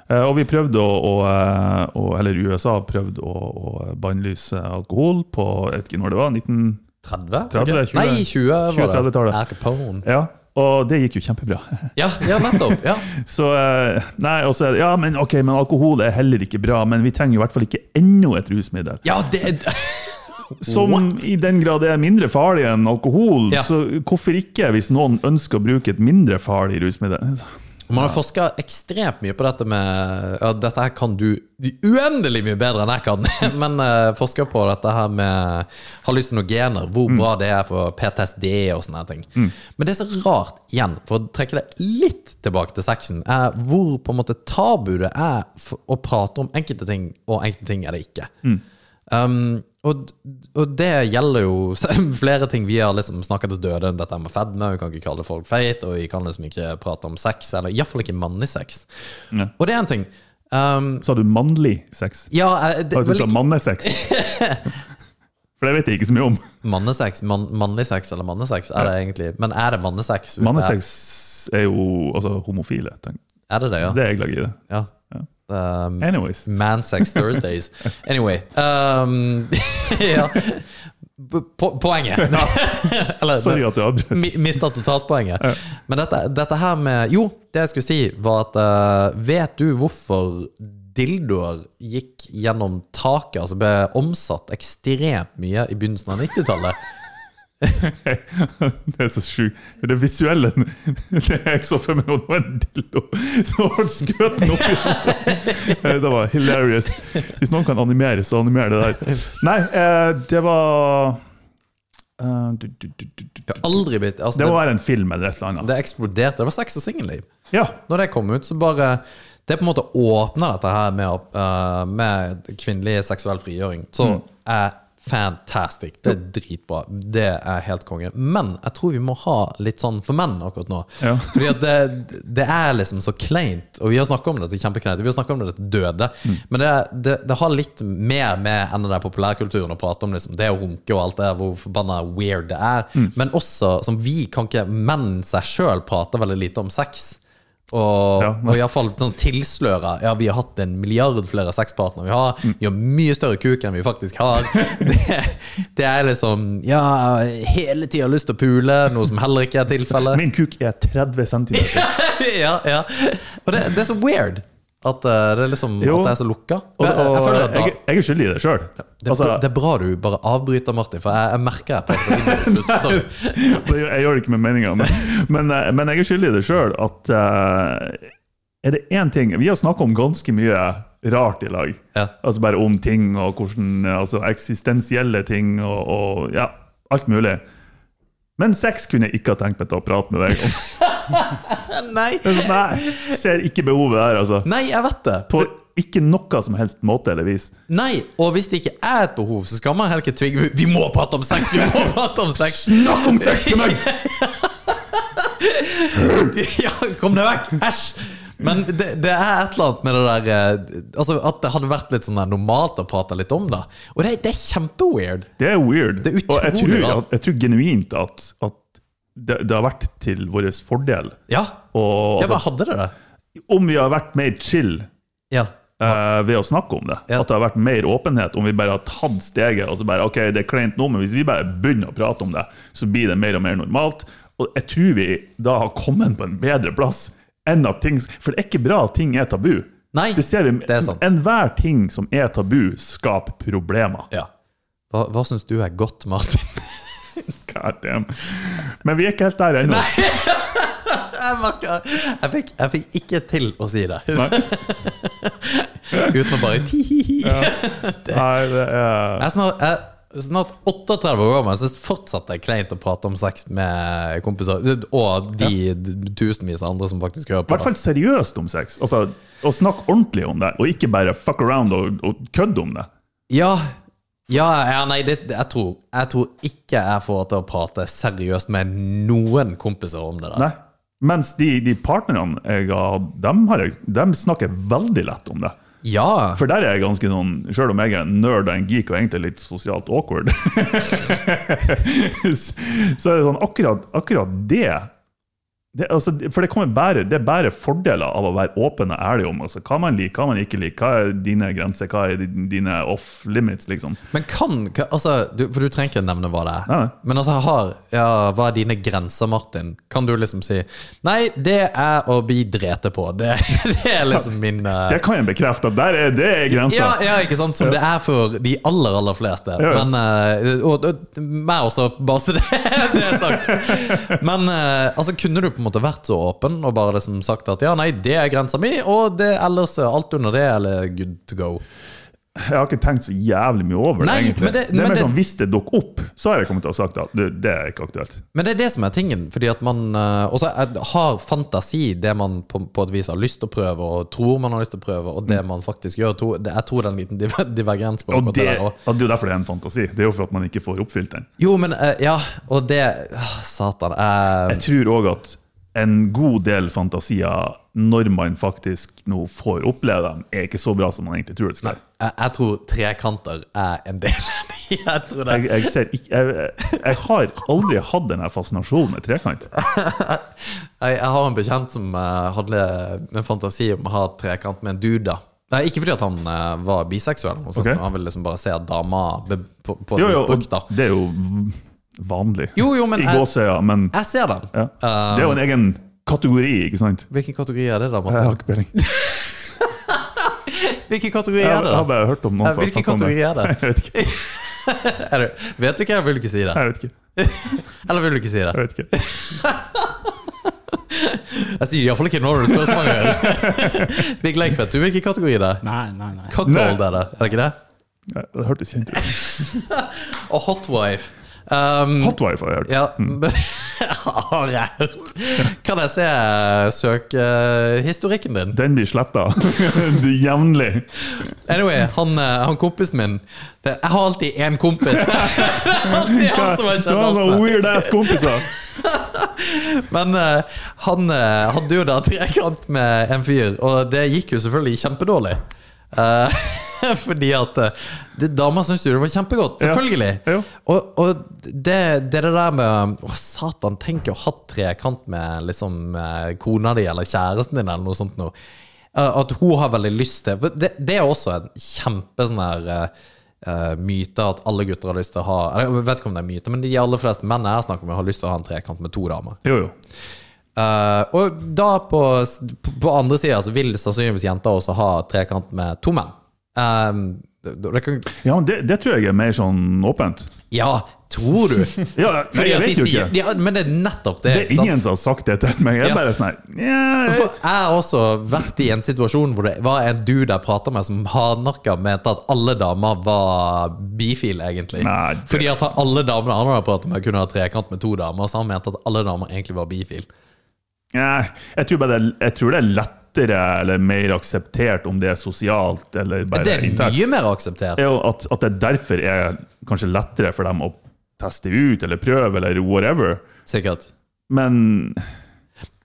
S3: Eh, Og vi prøvde å, å, eh, å- Eller USA prøvde å, å bannlyse alkohol på jeg vet ikke når det var, 19...
S2: 30?
S3: 30, 20.
S2: Nei, 20 var det.
S3: 20-30-tallet.
S2: Al Capone.
S3: Ja, og det gikk jo kjempebra. (laughs)
S2: Ja, ja nettopp. Ja.
S3: Så eh, Nei, og så er det Ja, men ok, men alkohol er heller ikke bra, men vi trenger i hvert fall ikke enda et rusmiddel.
S2: ja, det (laughs)
S3: Som i den grad er mindre farlig enn alkohol,
S2: Ja.
S3: så hvorfor ikke, hvis noen ønsker å bruke et mindre farlig rusmiddel? (laughs)
S2: Man har forska ekstremt mye på dette med ja, Dette her kan du uendelig mye bedre enn jeg kan, (laughs) men uh, forska på dette her med hallusinogener, hvor bra det er for PTSD og sånne her ting. Men det er så rart, igjen, for å trekke det litt tilbake til sexen, er hvor på en måte tabu det er for å prate om enkelte ting, og enkelte ting er det ikke. Um, og, og det gjelder jo (laughs) flere ting. Vi har liksom snakka til døde om dette med fedme. Vi kan ikke kalle folk feit, og vi kan liksom ikke prate om sex, eller iallfall ikke mannlig sex.
S3: Ja.
S2: Og det er en ting. Um,
S3: Sa du mannlig sex?
S2: ja, eh, det,
S3: Har du
S2: vel,
S3: sa mannesex?
S2: (laughs)
S3: For det vet jeg ikke så mye om.
S2: mannesex, mann, mannlig sex eller mannesex, er det egentlig Men er det mannesex? hvis
S3: Mannesex er jo altså homofile. Tenk.
S2: Det er, er det det, ja?
S3: Det er jeg glad i. det.
S2: ja. Um,
S3: Anyways.
S2: Mansex Thursdays. Anyway um, (laughs) Ja. Po poenget. (laughs) Eller,
S3: Sorry at jeg avbrøt.
S2: Mi- Mista totalt poenget. Men dette, dette her med Jo, det jeg skulle si, var at eh, Vet du hvorfor dildoer gikk
S3: (laughs)
S2: gjennom taket, altså ble omsatt ekstremt mye i begynnelsen av 90-tallet?
S3: (laughs) Det er så sjukt. Det visuelle (laughs) Det er jeg så for meg, og det var en dildo som ble skutt den opp i
S2: (laughs)
S3: hånda. Det var hilarious. Hvis noen kan animere, så animer det der. Nei, eh, det var eh, du- du- du- du- du-
S2: Jeg har aldri blitt altså,
S3: Det må
S2: det,
S3: være en film eller et eller annet.
S2: det eksploderte. Det var sex og singelliv.
S3: Ja.
S2: Når det kom ut, så bare Det på en måte åpna dette her med, eh, med kvinnelig seksuell frigjøring. Så
S3: Mm.
S2: er fantastic. Det er dritbra. Det er helt konge. Men jeg tror vi må ha litt sånn for menn akkurat nå.
S3: Ja.
S2: Fordi at det, det er liksom så kleint, og vi har snakka om dette kjempekleint. Vi har snakka om dette døde. Men det, det, det har litt mer med enn den der populærkulturen å prate om liksom, det å runke og alt det der, hvor forbanna weird det er. Men også, som vi kan ikke menn seg sjøl prater veldig lite om sex. Og,
S3: Ja.
S2: og iallfall sånn tilsløre Ja, vi har hatt en milliard flere sexpartnere vi har. Vi har mye større kuk enn vi faktisk har. Det, det er liksom Ja, hele tida lyst til å pule, noe som heller ikke er tilfellet
S3: Min kuk er 30 cm.
S2: (laughs) ja, ja. Og det, det er så weird at eh, det er, liksom,
S3: Jo.
S2: at det er så lukka.
S3: Og,
S2: jeg, jeg føler at
S3: og
S2: da,
S3: jeg, jeg er skyldig i det Altså, sjøl.
S2: det, er bra- det er bra du bare avbryter, Martin, for jeg, jeg merker jeg
S3: (laughs)
S2: prater inn. Sorry.
S3: Det gjør- (laughs) Jeg gjør det ikke med meninga, men, (laughs) men, eh, men jeg er skyldig i det sjøl at eh, Er det én ting Vi har snakka om ganske mye rart i lag.
S2: Ja.
S3: Altså bare om ting og hvordan eh, altså Eksistensielle ting og, og ja, alt mulig. Men sex kunne jeg ikke ha tenkt meg til å prate
S2: (laughs)
S3: med deg om. Altså,
S2: Nei.
S3: Nei, ser ikke behovet der, altså.
S2: Nei, jeg vet det.
S3: På ikke noe som helst måte eller vis.
S2: Nei, Og hvis det ikke er et behov, så skal man heller ikke tvinge Vi må prate om sex! Vi må (laughs) prate om sex!
S3: Snakk om sex til meg!
S2: (laughs) Ja, kom deg vekk! Æsj! Men det, det er et eller annet med det der eh, Altså At det hadde vært litt sånn der normalt å prate litt om det. Og det, det er kjempeweird.
S3: Det er weird.
S2: Det er
S3: og jeg
S2: utrolig
S3: tror,
S2: rart.
S3: at, jeg tror genuint at, at det, det har vært til vår fordel.
S2: Ja.
S3: Og
S2: ja, men
S3: altså,
S2: hadde det det?
S3: om vi har vært mer chill
S2: Ja.
S3: eh, ved å snakke om det,
S2: Ja.
S3: at det har vært mer åpenhet, om vi bare har tatt steget og så bare OK, det er kleint nå, men hvis vi bare begynner å prate om det, så blir det mer og mer normalt. Og jeg tror vi da har kommet på en bedre plass enn at ting For det er ikke bra at ting er tabu.
S2: Nei,
S3: det ser vi.
S2: det er sant.
S3: Enhver ting som er tabu, skaper problemer.
S2: Ja. Hva, hva syns du er godt, Martin? (laughs)
S3: God damn. Men vi er ikke helt der ennå.
S2: Jeg, merker- jeg, fikk, jeg fikk ikke til å si det.
S3: Nei.
S2: (laughs) Uten å bare ti-hi-hi.
S3: Nei, det er
S2: Jeg er snart, jeg, er snart 38 år, men jeg syns fortsatt det er kleint å prate om sex med kompiser. Og de d- tusenvis av andre som faktisk hører
S3: i
S2: på.
S3: hvert fall seriøst om sex. Altså, Å snakke ordentlig om det, og ikke bare fuck around og, og kødde om det.
S2: Ja, ja, ja nei, det, jeg, tror, jeg tror ikke jeg får til å prate seriøst med noen kompiser om det der.
S3: Nei. Mens de, de partnerne jeg har hatt, dem, har jeg, dem snakker veldig lett om det.
S2: Ja,
S3: For der er jeg ganske sånn, Sjøl om jeg er en nerd og en geek og egentlig litt sosialt awkward, (laughs) så er det sånn akkurat, akkurat det, det altså, For det, kommer bare, det er bare fordeler av å være åpen og ærlig om altså, hva man liker, hva man ikke liker, hva er dine grenser, hva er dine off limits, liksom.
S2: Men kan, kan altså, du, For du trenger ikke nevne hva det er.
S3: Nei, nei.
S2: Men altså, jeg har, ja, hva er dine grenser, Martin? Kan du liksom si Nei, det er å bli drete på. Det, (laughs) det er liksom min eh,
S3: Det kan jeg bekrefte. at Der er, det er grensa.
S2: ja, ja, ikke sant? Som det er for de aller, aller fleste.
S3: Altså. Ja.
S2: Men, eh, og, og meg også, bare så det, (laughs) det er sagt. Men eh, altså, kunne du på en måte vært så åpen og bare liksom sagt at ja, nei, det er grensa mi, og det ellers eh, alt under det, eller good to go?
S3: Jeg har ikke tenkt så jævlig mye over det.
S2: Nei,
S3: egentlig.
S2: men
S3: det,
S2: det- men
S3: er mer
S2: det-
S3: sånn, Hvis det dukker opp, så har jeg kommet til å ha sagt at du, det er ikke aktuelt.
S2: Men det er det som er tingen, fordi at man eh, også er- har fantasi, det man på, på et vis har lyst til å prøve, og tror man har lyst til å prøve, og det man faktisk gjør. Tror, det, jeg tror det er en liten diver- divergens på
S3: Og
S2: akkurat
S3: det,
S2: det der
S3: ja,
S2: også.
S3: det er jo derfor det er en fantasi. Det er jo for at man ikke får oppfylt den.
S2: Jo, men eh, ja, og det ah, Satan. eh,
S3: Jeg tror òg at en god del fantasier, når man faktisk nå får oppleve dem, er ikke så bra som man egentlig tror det skal være.
S2: jeg, jeg tror trekanter er en del av det. (laughs) Jeg tror det.
S3: Jeg, jeg, ser ikke, jeg, jeg har aldri hatt den her fascinasjonen med trekant.
S2: Jeg, jeg har en bekjent som eh, hadde en fantasi om å ha trekant med en dude. da. Nei, ikke fordi at han eh, var biseksuell, eller noe sånt,
S3: Ok.
S2: men han ville liksom bare se dama be, på, på
S3: Jo,
S2: et
S3: jo,
S2: vis brukt. da.
S3: og det er jo vanlig.
S2: Jo, jo, men
S3: I
S2: jeg-
S3: gåseøya, men
S2: Jeg ser den.
S3: ja. Det er jo en egen kategori, ikke sant?
S2: Hvilken kategori er det, da?
S3: Jeg
S2: Martin?
S3: har ikke (laughs) peiling. Jeg,
S2: Hvilken kategori er
S3: jeg
S2: det, da?
S3: har
S2: Eh,
S3: bare hørt om noen som har
S2: Hvilken
S3: snakket om
S2: kategori er det?
S3: (laughs) Jeg vet ikke.
S2: (laughs) Er du, vet du hva, jeg vil ikke si det.
S3: Jeg vet ikke.
S2: Eller vil du ikke si det?
S3: Jeg vet ikke.
S2: Jeg sier iallfall ikke når du spør smanger.
S3: (laughs)
S2: Big Lake, vet du hvilken kategori det er?
S4: Nei, nei, nei.
S2: Cuckold er det, er det ikke det?
S3: Nei, Det hørtes kjent ut.
S2: Og Hot Wife. Um,
S3: Hot wifi har jeg hørt.
S2: ja, men (laughs) har jeg hørt. Kan jeg se eh, søkehistorikken din?
S3: Den blir (laughs) sletta jevnlig.
S2: Anyway, han, eh, han kompisen min det, Jeg har alltid én kompis. (laughs) Det er alltid han som jeg
S3: Du
S2: kjenner
S3: har
S2: alt
S3: sånne
S2: med.
S3: weird ass kompiser.
S2: Men eh, han eh, hadde jo da trekant med en fyr, og det gikk jo selvfølgelig kjempedårlig. Eh, (laughs) fordi at uh, dama syntes jo det var kjempegodt,
S3: Ja.
S2: selvfølgelig.
S3: Ja.
S2: Og, og det, det er det der med Å, satan, tenk å ha trekant med liksom eh, kona di eller kjæresten din eller noe sånt noe. Eh, at hun har veldig lyst til for Det, det er også en kjempe sånn her eh, eh, myte at alle gutter har lyst til å ha eller, Jeg vet ikke om det er myte, men de aller fleste menn jeg snakker med, har lyst til å ha en trekant med to damer.
S3: Jo, jo.
S2: Eh, og da på, på andre sida så vil sannsynligvis jenter også ha trekant med to menn. Eh, det, det kan,
S3: Ja, men det, det tror jeg er mer sånn åpent.
S2: ja, tror
S3: (laughs)
S2: du? Fordi
S3: Ja, nei, jeg
S2: at de
S3: vet jo
S2: sier,
S3: ikke.
S2: ja, men det er nettopp det.
S3: Det er
S2: ikke sant?
S3: ingen som har sagt det til meg. Jeg
S2: Ja.
S3: er bare sånn her, ja,
S2: For jeg har også vært i en situasjon hvor det var en dude jeg prata med, som hardnakka mente at alle damer var bifile, egentlig.
S3: Nei, det-
S2: Fordi at alle damene han hadde pratet med, kunne ha trekant med to damer, så han mente at alle damer egentlig var bifile.
S3: Nei, jeg tror, bare det, jeg tror det er lettere eller mer akseptert om det er sosialt eller bare
S2: Det er
S3: internt.
S2: mye mer akseptert.
S3: er jo at, at det derfor er kanskje lettere for dem å teste ut eller prøve eller whatever.
S2: Sikkert.
S3: Men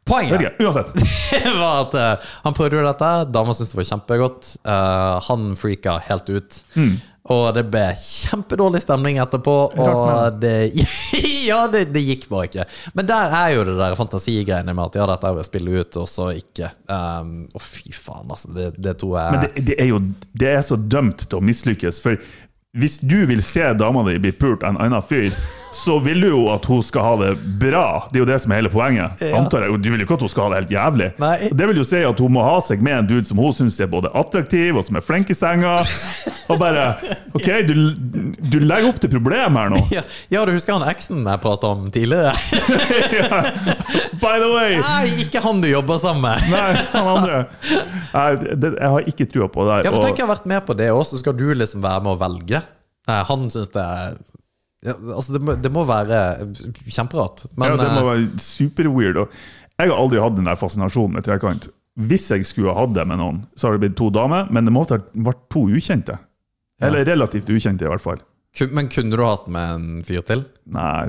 S2: Poenget
S3: vet ikke, uansett.
S2: (laughs) var at eh, han prøvde jo dette, dama syntes det var kjempegodt. eh, han freaka helt ut.
S3: Mm.
S2: Og det ble kjempedårlig stemning etterpå, og det, (laughs) ja, det, det gikk bare ikke. Men der er jo det der fantasigreiene med at ja, dette er jo å spille ut, og så ikke. Um, Å, fy faen, altså. Det, det tror jeg
S3: Men det, det er jo det er så dømt til å mislykkes. For hvis du vil se dama di bli pult av en annen fyr, så vil du jo at hun skal ha det bra. Det er jo det som er hele poenget. Antar jeg, Du vil jo ikke at hun skal ha det helt jævlig.
S2: Nei.
S3: Og Det vil jo si at hun må ha seg med en dude som hun syns er både attraktiv og som er flink i senga. Og bare OK, du, du legger opp til problem her nå.
S2: (laughs) ja, ja, du husker han eksen jeg prata om tidligere?
S3: By the way!
S2: Nei, (laughs) ikke han du jobber sammen med!
S3: Nei, han andre. Nei, det, jeg har ikke trua på det
S2: Ja,
S3: her.
S2: for
S3: og-
S2: tenk jeg har vært med på det også, så skal du liksom være med å velge. Eh, han syns det er ja, Altså, det må, det må være kjemperart. Men
S3: ja, det må
S2: eh,
S3: være superweird. og Jeg har aldri hatt den der fascinasjonen med trekant. Hvis jeg skulle ha hatt det med noen, så har det blitt to damer, men det måtte ha vært to ukjente. Eller relativt ukjente, i hvert fall.
S2: kun, men kunne du hatt med en fyr til?
S3: Nei,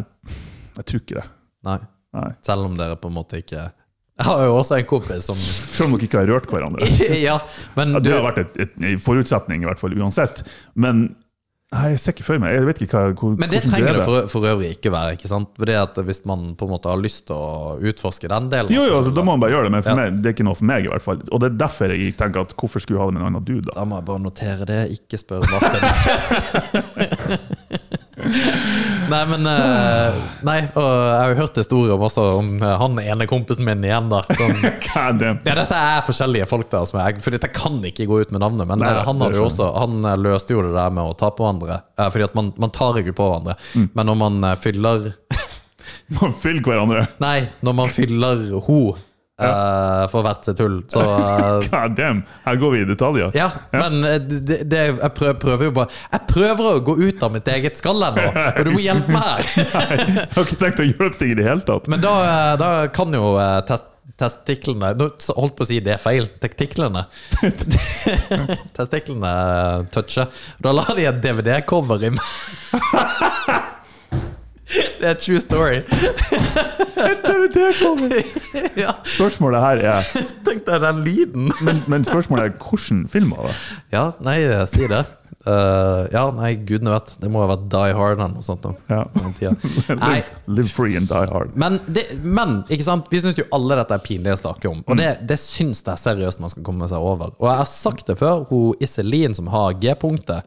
S3: jeg tror ikke det.
S2: Nei.
S3: Nei.
S2: Selv om dere på en måte ikke Jeg har jo også en kompis som (laughs)
S3: Selv om dere ikke har rørt hverandre.
S2: Ja, men
S3: Ja,
S2: du
S3: det har vært et, et, en forutsetning, i hvert fall uansett. Men nei, jeg ser ikke for meg. Jeg vet ikke hva, hvor,
S2: men det
S3: hvordan
S2: trenger det
S3: er.
S2: for, for øvrig ikke være. ikke sant? Fordi at Hvis man på en måte har lyst til å utforske den delen
S3: Jo, jo,
S2: av seg
S3: altså,
S2: selv,
S3: Da må man bare gjøre det, men for
S2: Ja.
S3: meg, det er ikke noe for meg. i hvert fall. Og det er derfor jeg tenker at hvorfor skulle jeg ha det med en annen dude? da?
S2: Da må jeg bare notere det. Ikke spør Martin. (laughs) nei, men eh, Nei, og jeg har jo hørt historier om også om eh, han ene kompisen min igjen, da. Som, (laughs)
S3: God damn.
S2: ja, dette er forskjellige folk, da, som jeg, for dette kan ikke gå ut med navnet. Men
S3: Nei,
S2: eh, han,
S3: det
S2: hadde jo
S3: skjønner
S2: også, han eh, løste jo det der med å ta på hverandre. eh, fordi at man, man tar ikke på hverandre. Men når man eh, fyller (laughs)
S3: Man fyller hverandre.
S2: Nei, når man fyller ho eh, for hvert sitt hull, så eh,
S3: God damn, her går vi i detaljer.
S2: Ja, men eh, det, det, jeg prøver, prøver jo bare Jeg prøver å gå ut av mitt eget skall her nå, og du må hjelpe meg her!
S3: (laughs)
S2: (laughs)
S3: Jeg har ikke tenkt å hjelpe deg i det hele tatt.
S2: Men da, eh, da kan jo eh, test, testiklene Nå så holdt på å si det er feil. Tektiklene. (laughs) Testiklene eh, toucher. Da la de et DVD-cover i meg. (laughs) Det er true story. (laughs) ja,
S3: Spørsmålet her er
S2: Tenk deg den lyden!
S3: Men, men spørsmålet er hvordan film var det?
S2: Ja, nei, si det. Eh, ja, nei, gudene vet. Det må ha vært Die Hard eller noe sånt. nå, (laughs)
S3: Ja.
S2: på den
S3: (laughs)
S2: tiden. Nei,
S3: Live, live free and die hard.
S2: men, det, men ikke sant? vi syns jo alle dette er pinlig å snakke om, og det, det syns jeg seriøst man skal komme seg over. Og jeg har sagt det før, hun Iselin som har G-punktet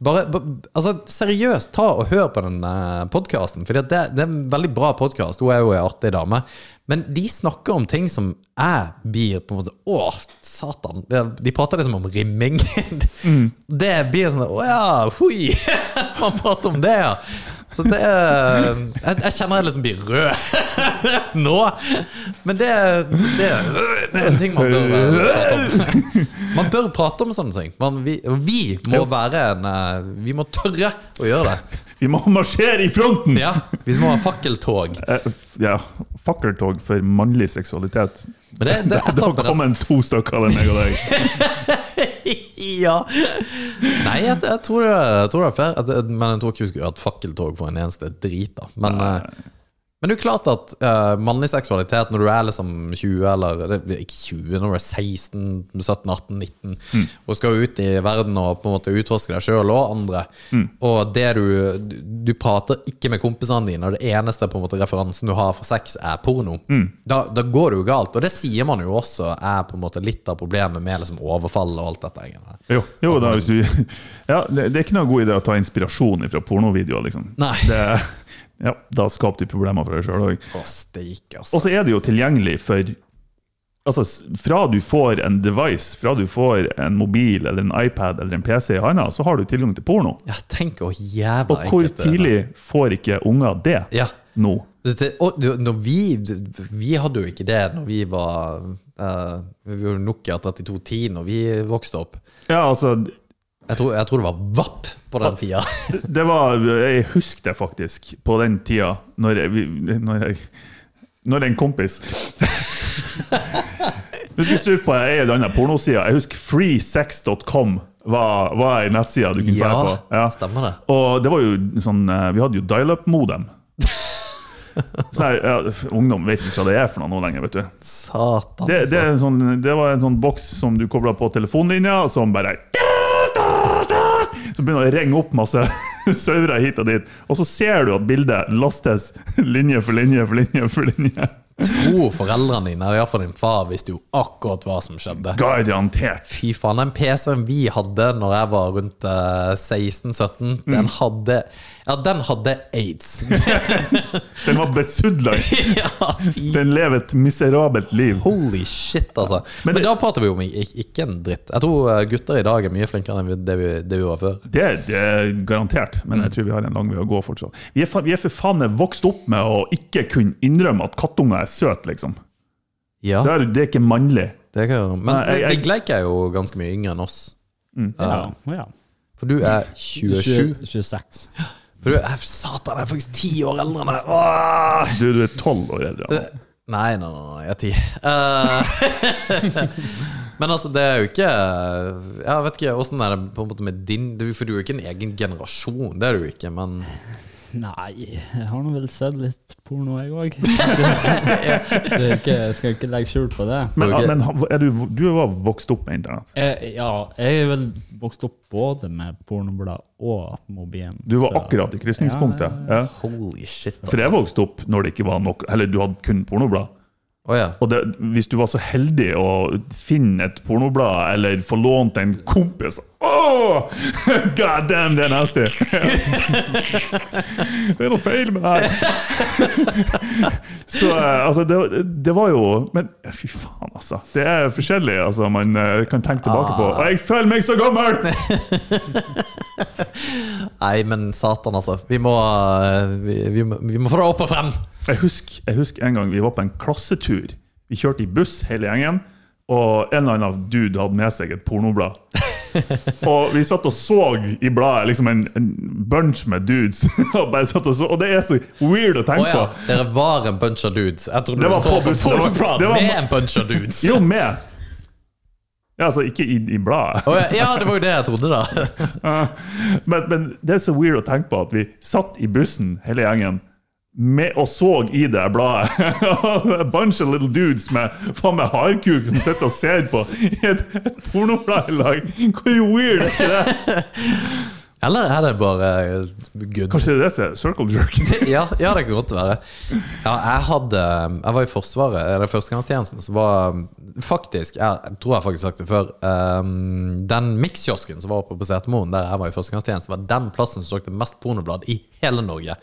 S2: Bare, ba- altså, seriøst, ta og hør på den eh, podkasten, for det, det er en veldig bra podkast. Hun er jo ei artig dame. Men de snakker om ting som jeg blir på en måte Å, satan. Det, de prater liksom om rimming. (laughs) Det blir sånn Å ja, hui. (laughs) Man prater om det, ja. Så det er- Jeg, jeg kjenner jeg liksom blir rød (laughs) nå. Men det, det, det er en ting man bør eh, prate om. Man bør prate om sånne ting. Man, vi, vi må være en eh, Vi må tørre å gjøre det.
S3: Vi må marsjere i fronten!
S2: Ja, Vi må ha fakkeltog.
S3: Eh, f- ja. Fakkeltog for mannlig seksualitet.
S2: Men det, det
S3: Da kom en to stykker av meg og deg.
S2: (laughs) Ja. Nei, jeg, jeg tror det jeg tror det er fair. At, det- men jeg tror ikke vi skulle hatt fakkeltog for en eneste drit, da. Men, eh, men det er jo klart at eh, mannlig seksualitet når du er liksom 20, eller det, det er ikke 20, når du er 16, 17, 18, 19, og skal ut i verden og på en måte utforske deg sjøl og andre, og det du du- Du prater ikke med kompisene dine, og det eneste på en måte referansen du har for sex, er porno. Da, da går det jo galt, og det sier man jo også er på en måte litt av problemet med liksom overfall og alt dette. greiene.
S3: Jo, jo da, hvis du, ja, det, det er ikke noe god idé å ta inspirasjon fra pornovideoer, liksom.
S2: Nei.
S3: Det, ja, da skaper du problemer for deg sjøl òg.
S2: Å, steik, altså.
S3: Og så er det jo tilgjengelig for Altså, s- fra du får en device, fra du får en mobil eller en iPad eller en PC i handa, så har du tilgang til porno.
S2: Ja, tenk hvor jævla
S3: Og hvor
S2: enkelt det er.
S3: tidlig får ikke unger det
S2: Ja.
S3: nå?
S2: Det, og, du, når vi, vi hadde jo ikke det når vi var eh, Vi var jo Nokia 3210 når vi vokste opp.
S3: Ja, altså
S2: Jeg tror, jeg tror det var VAP på den
S3: (laughs)
S2: tida.
S3: Det var Jeg husker det faktisk, på den tida, når jeg, vi- når jeg når en kompis (laughs) Du skulle surfe på ei eller annen pornoside. Jeg husker freesex.com var, var ei nettside du kunne
S2: Ja,
S3: være på. Ja.
S2: stemmer det.
S3: Og det var jo sånn eh, Vi hadde jo dial-up-modem. Så jeg, ja, ungdom vet ikke hva det er for noe nå lenger. vet du
S2: Satan.
S3: Det, det, er en sånn, det var en sånn boks som du kobla på telefonlinja, som bare Så begynner det å ringe opp masse (laughs) sauere hit og dit. Og så ser du at bildet lastes linje for linje for linje. for linje
S2: Tro foreldrene dine, eller iallfall din far, visste jo akkurat hva som skjedde.
S3: Garantert.
S2: Fy faen, den PC-en vi hadde når jeg var rundt eh, 16-17,
S3: Mm.
S2: den hadde Ja, den hadde aids. (laughs)
S3: Den var besudla.
S2: ja, fy
S3: Den lever et miserabelt liv.
S2: Holy shit, altså. Men,
S3: det-
S2: da prater vi om ik- ikke en dritt. Jeg tror eh, gutter i dag er mye flinkere enn vi- det vi, det vi var før.
S3: Det, det er garantert, men jeg tror vi har en lang vei å gå fortsatt. Vi er, fa- vi er for faen meg vokst opp med å ikke kunne innrømme at kattunger er søte, liksom.
S2: Ja,
S3: Det er, det er ikke mannlig.
S2: det kan jeg gjøre. Men
S3: Nei, jeg- jeg-
S2: Vigleik er jo ganske mye yngre enn oss.
S4: Ja, ja.
S2: For du er 27.
S4: 26.
S2: For du er Satan, jeg er faktisk ti år eldre enn deg! Åh!
S3: Du, du er tolv år eldre.
S2: Nei, nei, nei, nei, jeg er ti. Eh, (laughs) men altså, det er jo ikke Jeg vet ikke åssen er det på en måte med din du- For du er jo ikke en egen generasjon, det er du jo ikke, men
S4: Nei, jeg har nå vel sett litt porno, jeg òg.
S2: (laughs)
S4: Skal ikke legge skjul på det.
S3: Men,
S2: Ok.
S3: men ha- er du, du var vokst opp med internett.
S4: Jeg, Eh, ja, jeg er vel vokst opp både med pornoblad og mobilen.
S3: Du var
S4: så-
S3: akkurat i krysningspunktet. Ja.
S2: holy shit. altså.
S3: For jeg vokste opp når det ikke var nok Eller du hadde kun pornoblad.
S2: Å ja.
S3: Og det, hvis du var så heldig å finne et pornoblad eller få lånt en kompis Åh! (laughs) God damn, det er nasty! (laughs) det er noe feil med det her! (laughs) så eh, altså, det, det var jo Men fy faen, altså. Det er forskjellig altså, man eh, kan tenke tilbake på. Og jeg føler meg så gammel!
S2: Nei, men satan, altså. Vi må, eh, vi, vi, må- vi må få det opp og frem!
S3: Jeg husker, jeg husker en gang vi var på en klassetur. Vi kjørte i buss hele gjengen, og en eller annen dude hadde med seg et
S2: (laughs)
S3: pornoblad. og vi satt og så i bladet liksom en, en bunch med dudes. (laughs) og, bare satt og, så, og det er så weird å
S2: Å
S3: tenke
S2: ja,
S3: på.
S2: dere var en bunch of dudes. Jeg trodde
S3: Det
S2: du
S3: var
S2: så
S3: på
S2: på
S3: bussen, det var-
S2: pornoplan
S3: det var-
S2: med en bunch of dudes!
S3: Jo, med. Ja, altså ikke i, i bladet.
S2: Å ja, ja, det var jo det jeg trodde, da.
S3: Men, men det er så weird å tenke på at vi satt i bussen, hele gjengen, med, og så i det bladet. (laughs) A bunch of little dudes med faen meg hardkuk som sitter og ser på i et, et pornoblad i lag. Hvor weird er ikke det?
S2: Eller er det bare good?
S3: Kanskje det er det som er circle jerk? (laughs)
S2: (laughs) Ja, ja, um, det kan godt være. Ja, jeg hadde Jeg var i Forsvaret, eller førstegangstjenesten, så var faktisk, jeg tror jeg faktisk har sagt det før, ehm, den mikskiosken som var oppe på Setermoen, der jeg var i førstegangstjeneste, var den plassen som solgte mest pornoblad i hele Norge.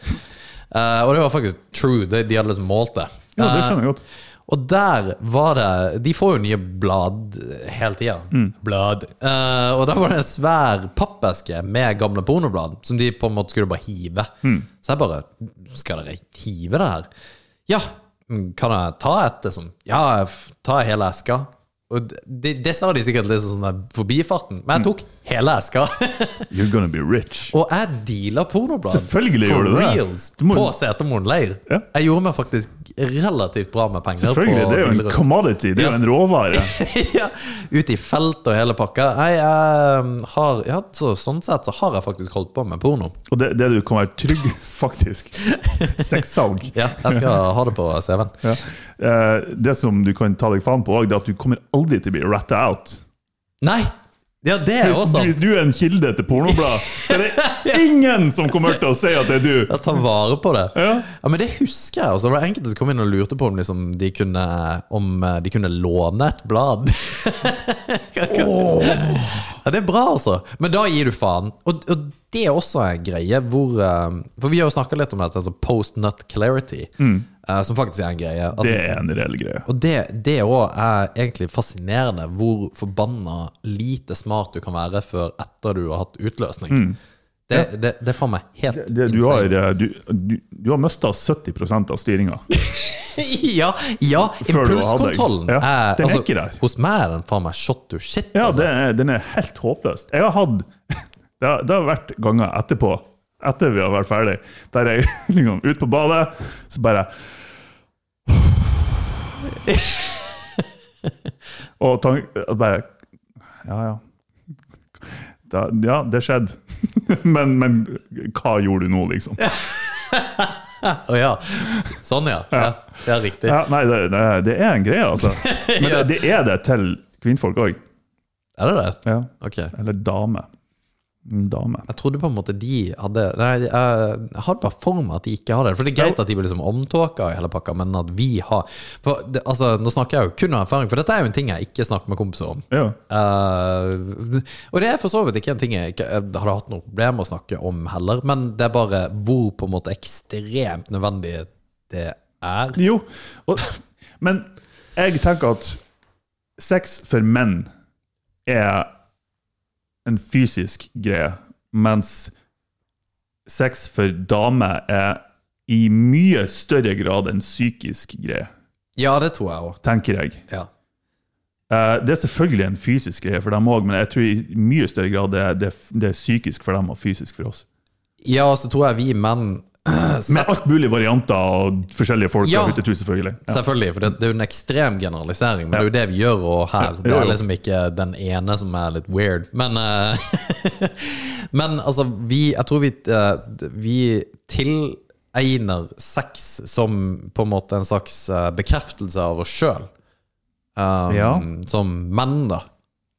S2: Eh, og det var faktisk true, de, de hadde liksom målt det.
S3: Jo, det skjønner jeg godt.
S2: Og der var det De får jo nye blad hele tida. Blad. Eh, og der var det en svær pappeske med gamle pornoblad, som de på en måte skulle bare hive. Så jeg bare Skal dere hive det her? Ja. mm, Kan jeg ta et, liksom? Ja, jeg f- tar hele eska. Og det, det sa de sikkert litt sånn der forbifarten, men jeg tok hele eska. (laughs)
S3: Eh, You're gonna be rich.
S2: Og jeg deala pornoblad.
S3: Selvfølgelig
S2: for
S3: gjør du det.
S2: reals
S3: Du må-
S2: på Setermoen leir.
S3: Ja.
S2: Jeg gjorde meg faktisk relativt bra med penger.
S3: Selvfølgelig,
S2: på
S3: det er jo en
S2: Dillerud.
S3: commodity, det er jo en råvare.
S2: (laughs)
S3: (laughs)
S2: ja, ut i felt og hele pakka. Nei, jeg um, har ja, så, Sånn sett så har jeg faktisk holdt på med porno.
S3: Og det, det du kan være trygg, faktisk. Sexsalg.
S2: Ja, jeg skal ha det på CV-en.
S3: Ja. Eh, Det som du kan ta deg faen på, også, det er at du kommer aldri til å bli ratta out.
S2: Nei! Ja, det er
S3: Hvis
S2: også
S3: du,
S2: sant.
S3: hvis du er en kilde til pornoblad, så er det ingen som kommer til å si at det er du!
S2: Jeg tar vare på det.
S3: Ja.
S2: Ja, men Det husker jeg. også. Det var enkelte som kom inn og lurte på om, liksom, de, kunne, om eh, de kunne låne et blad. (laughs) Ja, Det er bra, altså. Men da gir du faen. Og, og det er også en greie hvor eh, For vi har jo snakka litt om dette, altså post nut clarity, eh, som faktisk er en greie. At
S3: Mm. Det er en reell greie.
S2: Og det, det også er egentlig fascinerende hvor forbanna lite smart du kan være før etter du har hatt utløsning. Det, det, det er faen meg helt
S3: Mm. Det, du har,
S2: insane.
S3: eh, du, du, du har mista 70 av styringa.
S2: (laughs) ja, ja
S3: Før du har
S2: impulskontrollen
S3: hatt deg. Ja,
S2: er,
S3: den er
S2: altså,
S3: ikke der.
S2: Hos meg er den faen meg shot to shit.
S3: Ja,
S2: altså.
S3: det er, den er helt håpløst. Jeg har hatt (laughs) Det har, det har vært ganger etterpå, etter vi har vært ferdig, der jeg (laughs) liksom ute på badet, så bare Og tank, og bare Ja, ja. Da, ja, det skjedde. (laughs) Men, men hva gjorde du nå, liksom?
S2: Å ja. Sånn, ja. ja. Det er riktig.
S3: Ja, nei, det, det, det er en greie, altså. Men det, det er det til kvinnfolk òg.
S2: Er det det?
S3: Ja.
S2: Ok.
S3: Eller dame. En Dame.
S2: Jeg trodde på en måte de hadde Nei, jeg hadde bare for meg at de ikke hadde det. For det er greit at de blir liksom omtåka i hele pakka, men at vi har For det, altså, nå snakker jeg jo kun av erfaring, for dette er jo en ting jeg ikke snakker med kompiser om.
S3: Ja.
S2: Eh, og det er for så vidt ikke en ting jeg ikke jeg hadde hatt noe problem med å snakke om heller, men det er bare hvor på en måte ekstremt nødvendig det er.
S3: Jo, og, men jeg tenker at sex for menn er en fysisk greie, mens sex for damer er i mye større grad en psykisk greie,
S2: Ja, det tror jeg òg.
S3: tenker jeg.
S2: Ja.
S3: Eh, Det er selvfølgelig en fysisk greie for dem òg, men jeg tror i mye større grad det er, det, er- det er psykisk for dem og fysisk for oss.
S2: ja, så tror jeg vi menn (clears throat)
S3: Med alt mulig varianter og forskjellige folk
S2: Ja.
S3: og hyttetur, selvfølgelig. Ja.
S2: Selvfølgelig, for det, det er jo en ekstrem generalisering, men det er jo det vi gjør og her. Det
S3: Jo,
S2: er
S3: jo.
S2: liksom ikke den ene som er litt weird. Men, eh, (laughs) men altså, vi, jeg tror vi, eh, vi tilegner sex som på en måte en slags eh, bekreftelse av oss sjøl. Um,
S3: Ja.
S2: Som menn, da.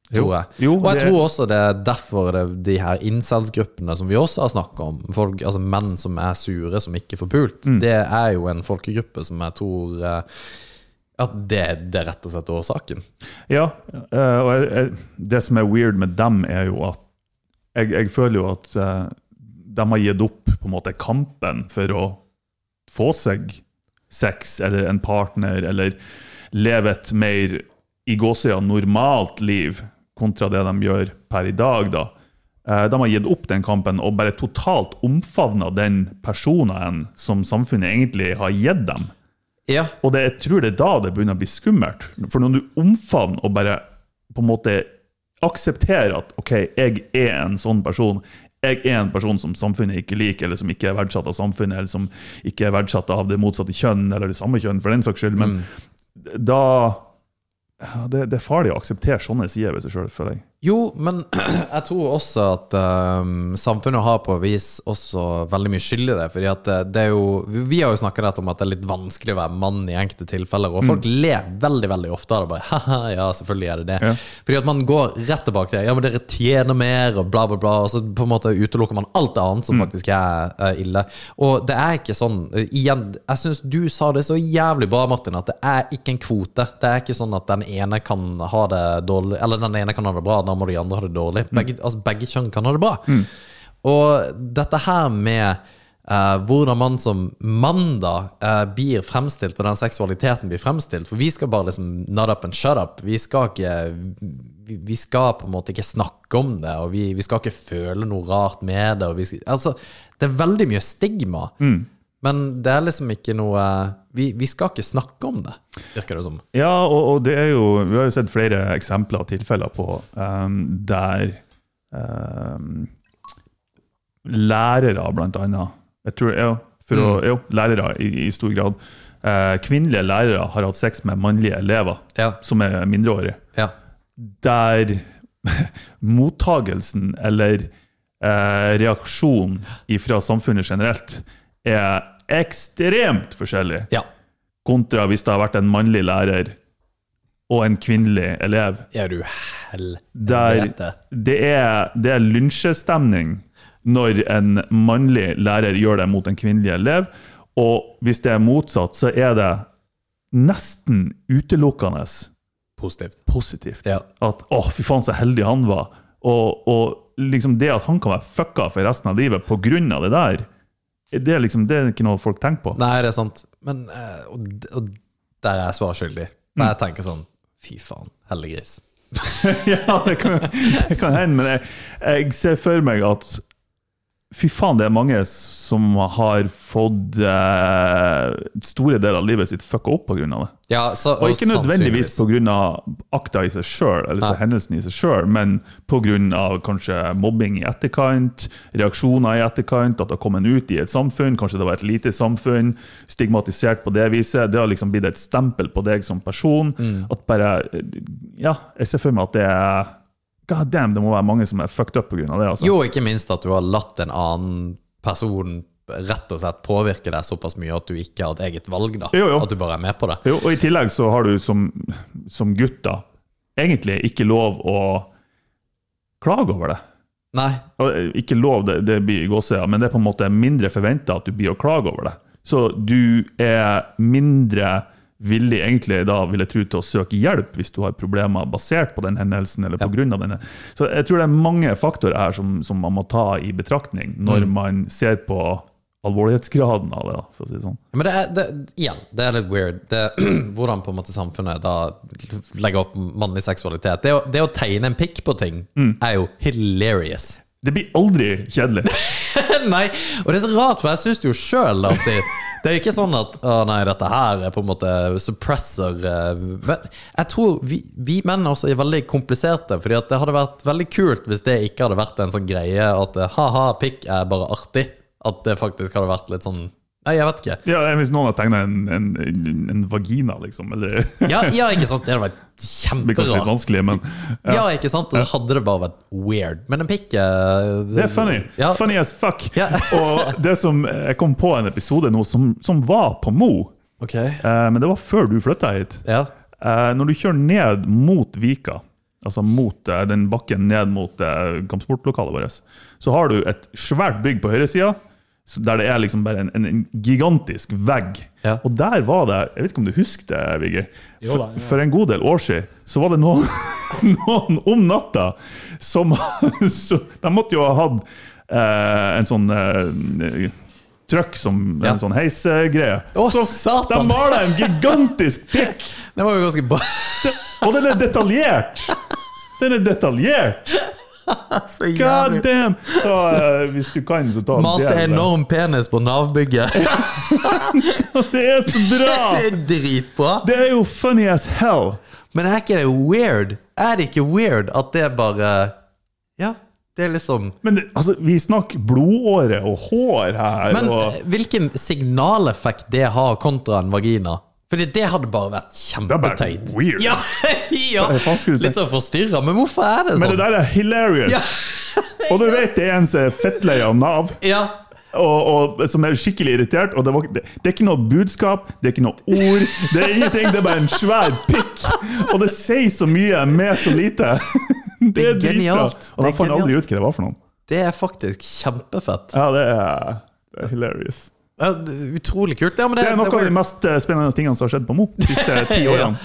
S3: Jo.
S2: Tror jeg.
S3: Jo,
S2: og jeg
S3: det-
S2: tror også det er derfor det, de her incels-gruppene som vi også har snakka om, folk, altså menn som er sure, som ikke får pult,
S3: Mm.
S2: det er jo en folkegruppe som jeg tror eh, at det, det er rett og slett årsaken.
S3: Ja, eh, og jeg, jeg, det som er weird med dem, er jo at Jeg, jeg føler jo at eh, de har gitt opp på en måte kampen for å få seg sex eller en partner, eller leve et mer i gåsøya normalt liv, kontra det de gjør per i dag, da. Eh, De har gitt opp den kampen og bare totalt omfavna den personen som samfunnet egentlig har gitt dem.
S2: Ja,
S3: Og det, jeg tror det er da det begynner å bli skummelt. For når du omfavner og bare på en måte aksepterer at OK, jeg er en sånn person. Jeg er en person som samfunnet ikke liker, eller som ikke er verdsatt av samfunnet, eller som ikke er verdsatt av det motsatte kjønn, eller det samme kjønn, for den saks skyld. Men da ja, det, det er farlig å akseptere sånne sider ved seg sjøl, føler jeg.
S2: Jo, men (clears throat) jeg tror også at ehm, samfunnet har på vis også veldig mye skyld i det. fordi at eh, det- det er jo, Vi har jo snakket dette om at det er litt vanskelig å være mann i enkelte tilfeller. Og folk ler veldig veldig ofte av det. bare, (laughs) Haha, ja, selvfølgelig er det det.
S3: Ja.
S2: Fordi at man går rett tilbake til ja, men dere tjener mer, og bla, bla, bla. Og så på en måte utelukker man alt annet som faktisk er, er ille. Og det er ikke sånn. eh, igjen, Jeg syns du sa det så jævlig bra, Martin, at det er ikke en kvote. Det er ikke sånn at den ene kan ha det dårlig, eller den ene kan ha det bra, da må de andre ha det dårlig. Begge, altså, begge kjønn kan ha det bra. Og dette her med eh, hvordan man som mann da eh, blir fremstilt, og den seksualiteten blir fremstilt. For vi skal bare liksom not up and shut up. Vi skal ikke vi, vi skal på en måte ikke snakke om det, og vi, vi skal ikke føle noe rart med det. Og vi skal, altså, det er veldig mye stigma, men det er liksom ikke noe vi, vi skal ikke snakke om det, virker det som.
S3: Ja, og, og det er jo, vi har jo sett flere eksempler og tilfeller på ehm, der ehm, lærere, blant annet, jeg tror, ja, for å, jo, lærere i, i stor grad, eh, kvinnelige lærere har hatt sex med mannlige elever
S2: Ja.
S3: som er mindreårige.
S2: Ja.
S3: Der (laughs) mottagelsen eller eh, reaksjonen fra samfunnet generelt er ekstremt forskjellig
S2: Ja.
S3: kontra hvis det har vært en mannlig lærer og en kvinnelig elev.
S2: Er du helvete?
S3: Der det er, det er lynsjestemning når en mannlig lærer gjør det mot en kvinnelig elev, og hvis det er motsatt, så er det nesten utelukkende
S2: Positivt.
S3: positivt.
S2: Ja.
S3: At 'å, fy faen, så heldig han var'. Og, og liksom det at han kan være fucka for resten av livet pga. det der, det er liksom, det er ikke noe folk tenker på.
S2: Nei, det er sant. Men eh, og, d- og der er jeg svar skyldig. Men
S3: Mm.
S2: jeg tenker sånn Fy faen, heldiggris.
S3: (laughs) Ja, det kan, det kan hende, men jeg, jeg ser for meg at Fy faen, det er mange som har fått eh, store deler av livet sitt fucka opp pga. det.
S2: Ja, så,
S3: Og ikke nødvendigvis
S2: sannsynligvis.
S3: pga. akta i seg sjøl, eller så
S2: Nei.
S3: hendelsen i seg sjøl, men pga. kanskje mobbing i etterkant, reaksjoner i etterkant, at det har kommet ut i et samfunn, kanskje det var et lite samfunn, stigmatisert på det viset. Det har liksom blitt et stempel på deg som person.
S2: Mm.
S3: At bare Ja, jeg ser for meg at det er God damn, det må være mange som er fucked up pga. det. altså.
S2: Jo, ikke minst at du har latt en annen person rett og slett påvirke deg såpass mye at du ikke har et eget valg, da.
S3: Jo, jo.
S2: At du bare er med på det.
S3: Jo, og i tillegg så har du som, som gutt da, egentlig ikke lov å klage over det.
S2: Nei.
S3: Og eh, Ikke lov, det, det blir gåseøyne, men det er på en måte mindre forventa at du blir å klage over det. Så du er mindre villig, egentlig, da vil jeg tro, til å søke hjelp hvis du har problemer basert på den hendelsen eller på grunn av denne. Så jeg tror det er mange faktorer her som, som man må ta i betraktning når
S2: Mm.
S3: man ser på alvorlighetsgraden av det, da, for å si det sånn.
S2: Men det er, det, igjen, det er litt weird. Det, (clears throat) hvordan på en måte samfunnet da legger opp mannlig seksualitet. Det å, det å tegne en pikk på ting
S3: Mm.
S2: er jo hilarious.
S3: Det blir aldri kjedelig.
S2: (laughs) Nei, og det er så rart, for jeg syns jo sjøl at det, det er ikke sånn at å nei, dette her er på en måte suppressor eh, men Jeg tror vi, vi menn også er veldig kompliserte, Fordi at det hadde vært veldig kult hvis det ikke hadde vært en sånn greie at eh, ha-ha, pikk er bare artig. At det faktisk hadde vært litt sånn Nei, jeg vet ikke.
S3: Ja, Hvis noen har tegna en, en, en vagina, liksom, eller Det
S2: Ja, ja ikke sant? Det hadde vært
S3: blir kanskje litt
S2: kjemperart.
S3: vanskelig, men
S2: Ja, ikke sant? Og så hadde det bare vært weird. Men en pikk eh,
S3: Det er funny.
S2: Ja.
S3: Funny as fuck.
S2: Ja.
S3: (laughs) og det som eh, jeg kom på en episode nå som, som var på Mo,
S2: Ok.
S3: eh, men det var før du flytta hit.
S2: Ja.
S3: Eh, når du kjører ned mot Vika, altså mot eh, den bakken ned mot eh, kampsportlokalet vårt, så har du et svært bygg på høyresida. så Der det er liksom bare en, en, en gigantisk vegg.
S2: Ja.
S3: Og der var det Jeg vet ikke om du husker det, Vigge.
S4: Jo
S3: For,
S4: da, ja.
S3: for en god del år siden så var det noen, (laughs) noen om natta som (laughs) så, De måtte jo ha hatt eh, en sånn eh, trøkk som
S2: Ja.
S3: En sånn heisegreie.
S2: Å,
S3: så de
S2: satan!
S3: mala en gigantisk
S2: (laughs)
S3: pikk!
S2: Det var jo ganske bra.
S3: Og den er detaljert! Den er detaljert!
S2: Så
S3: God
S2: jævlig.
S3: damn! Så eh, hvis du kan, så ta en
S2: Malte
S3: del.
S2: enorm penis på Nav-bygget.
S3: (laughs) Det er så
S2: (laughs) Det
S3: bra!
S2: er dritbra.
S3: Det er jo funny as hell!
S2: Men er ikke det weird? Er det ikke weird at det bare Ja, det er liksom
S3: Men det, altså, vi snakker blodåre og hår her.
S2: Men eh,
S3: og
S2: hvilken signaleffekt det har kontra en vagina? Fordi det hadde bare vært
S3: hadde vært
S2: kjempeteit.
S3: weird.
S2: Ja, (laughs) ja.
S3: Hva faen skulle du
S2: Litt sånn forstyrra, men hvorfor er det
S3: Men
S2: sånn?
S3: det der er hilarious!
S2: Ja.
S3: Og du vet det er en som er fettlei av Nav,
S2: ja.
S3: og, og, som er skikkelig irritert. Og det, var, det, det er ikke noe budskap, det er ikke noe ord, det er ingenting. Det er bare en svær pikk! Og det sier så mye med så lite. (laughs)
S2: er
S3: Det er dritbra.
S2: genialt.
S3: Og
S2: Det
S3: da
S2: er
S3: fant jeg
S2: genialt.
S3: aldri ut hva det var for noe.
S2: Det er faktisk kjempefett.
S3: Ja, det er, det er hilarious.
S2: Ja, Utrolig kult. Ja, men det,
S3: Det er noe
S2: det var-
S3: av de mest eh, spennende tingene som har skjedd på Mo de siste
S2: (laughs)
S3: ti årene.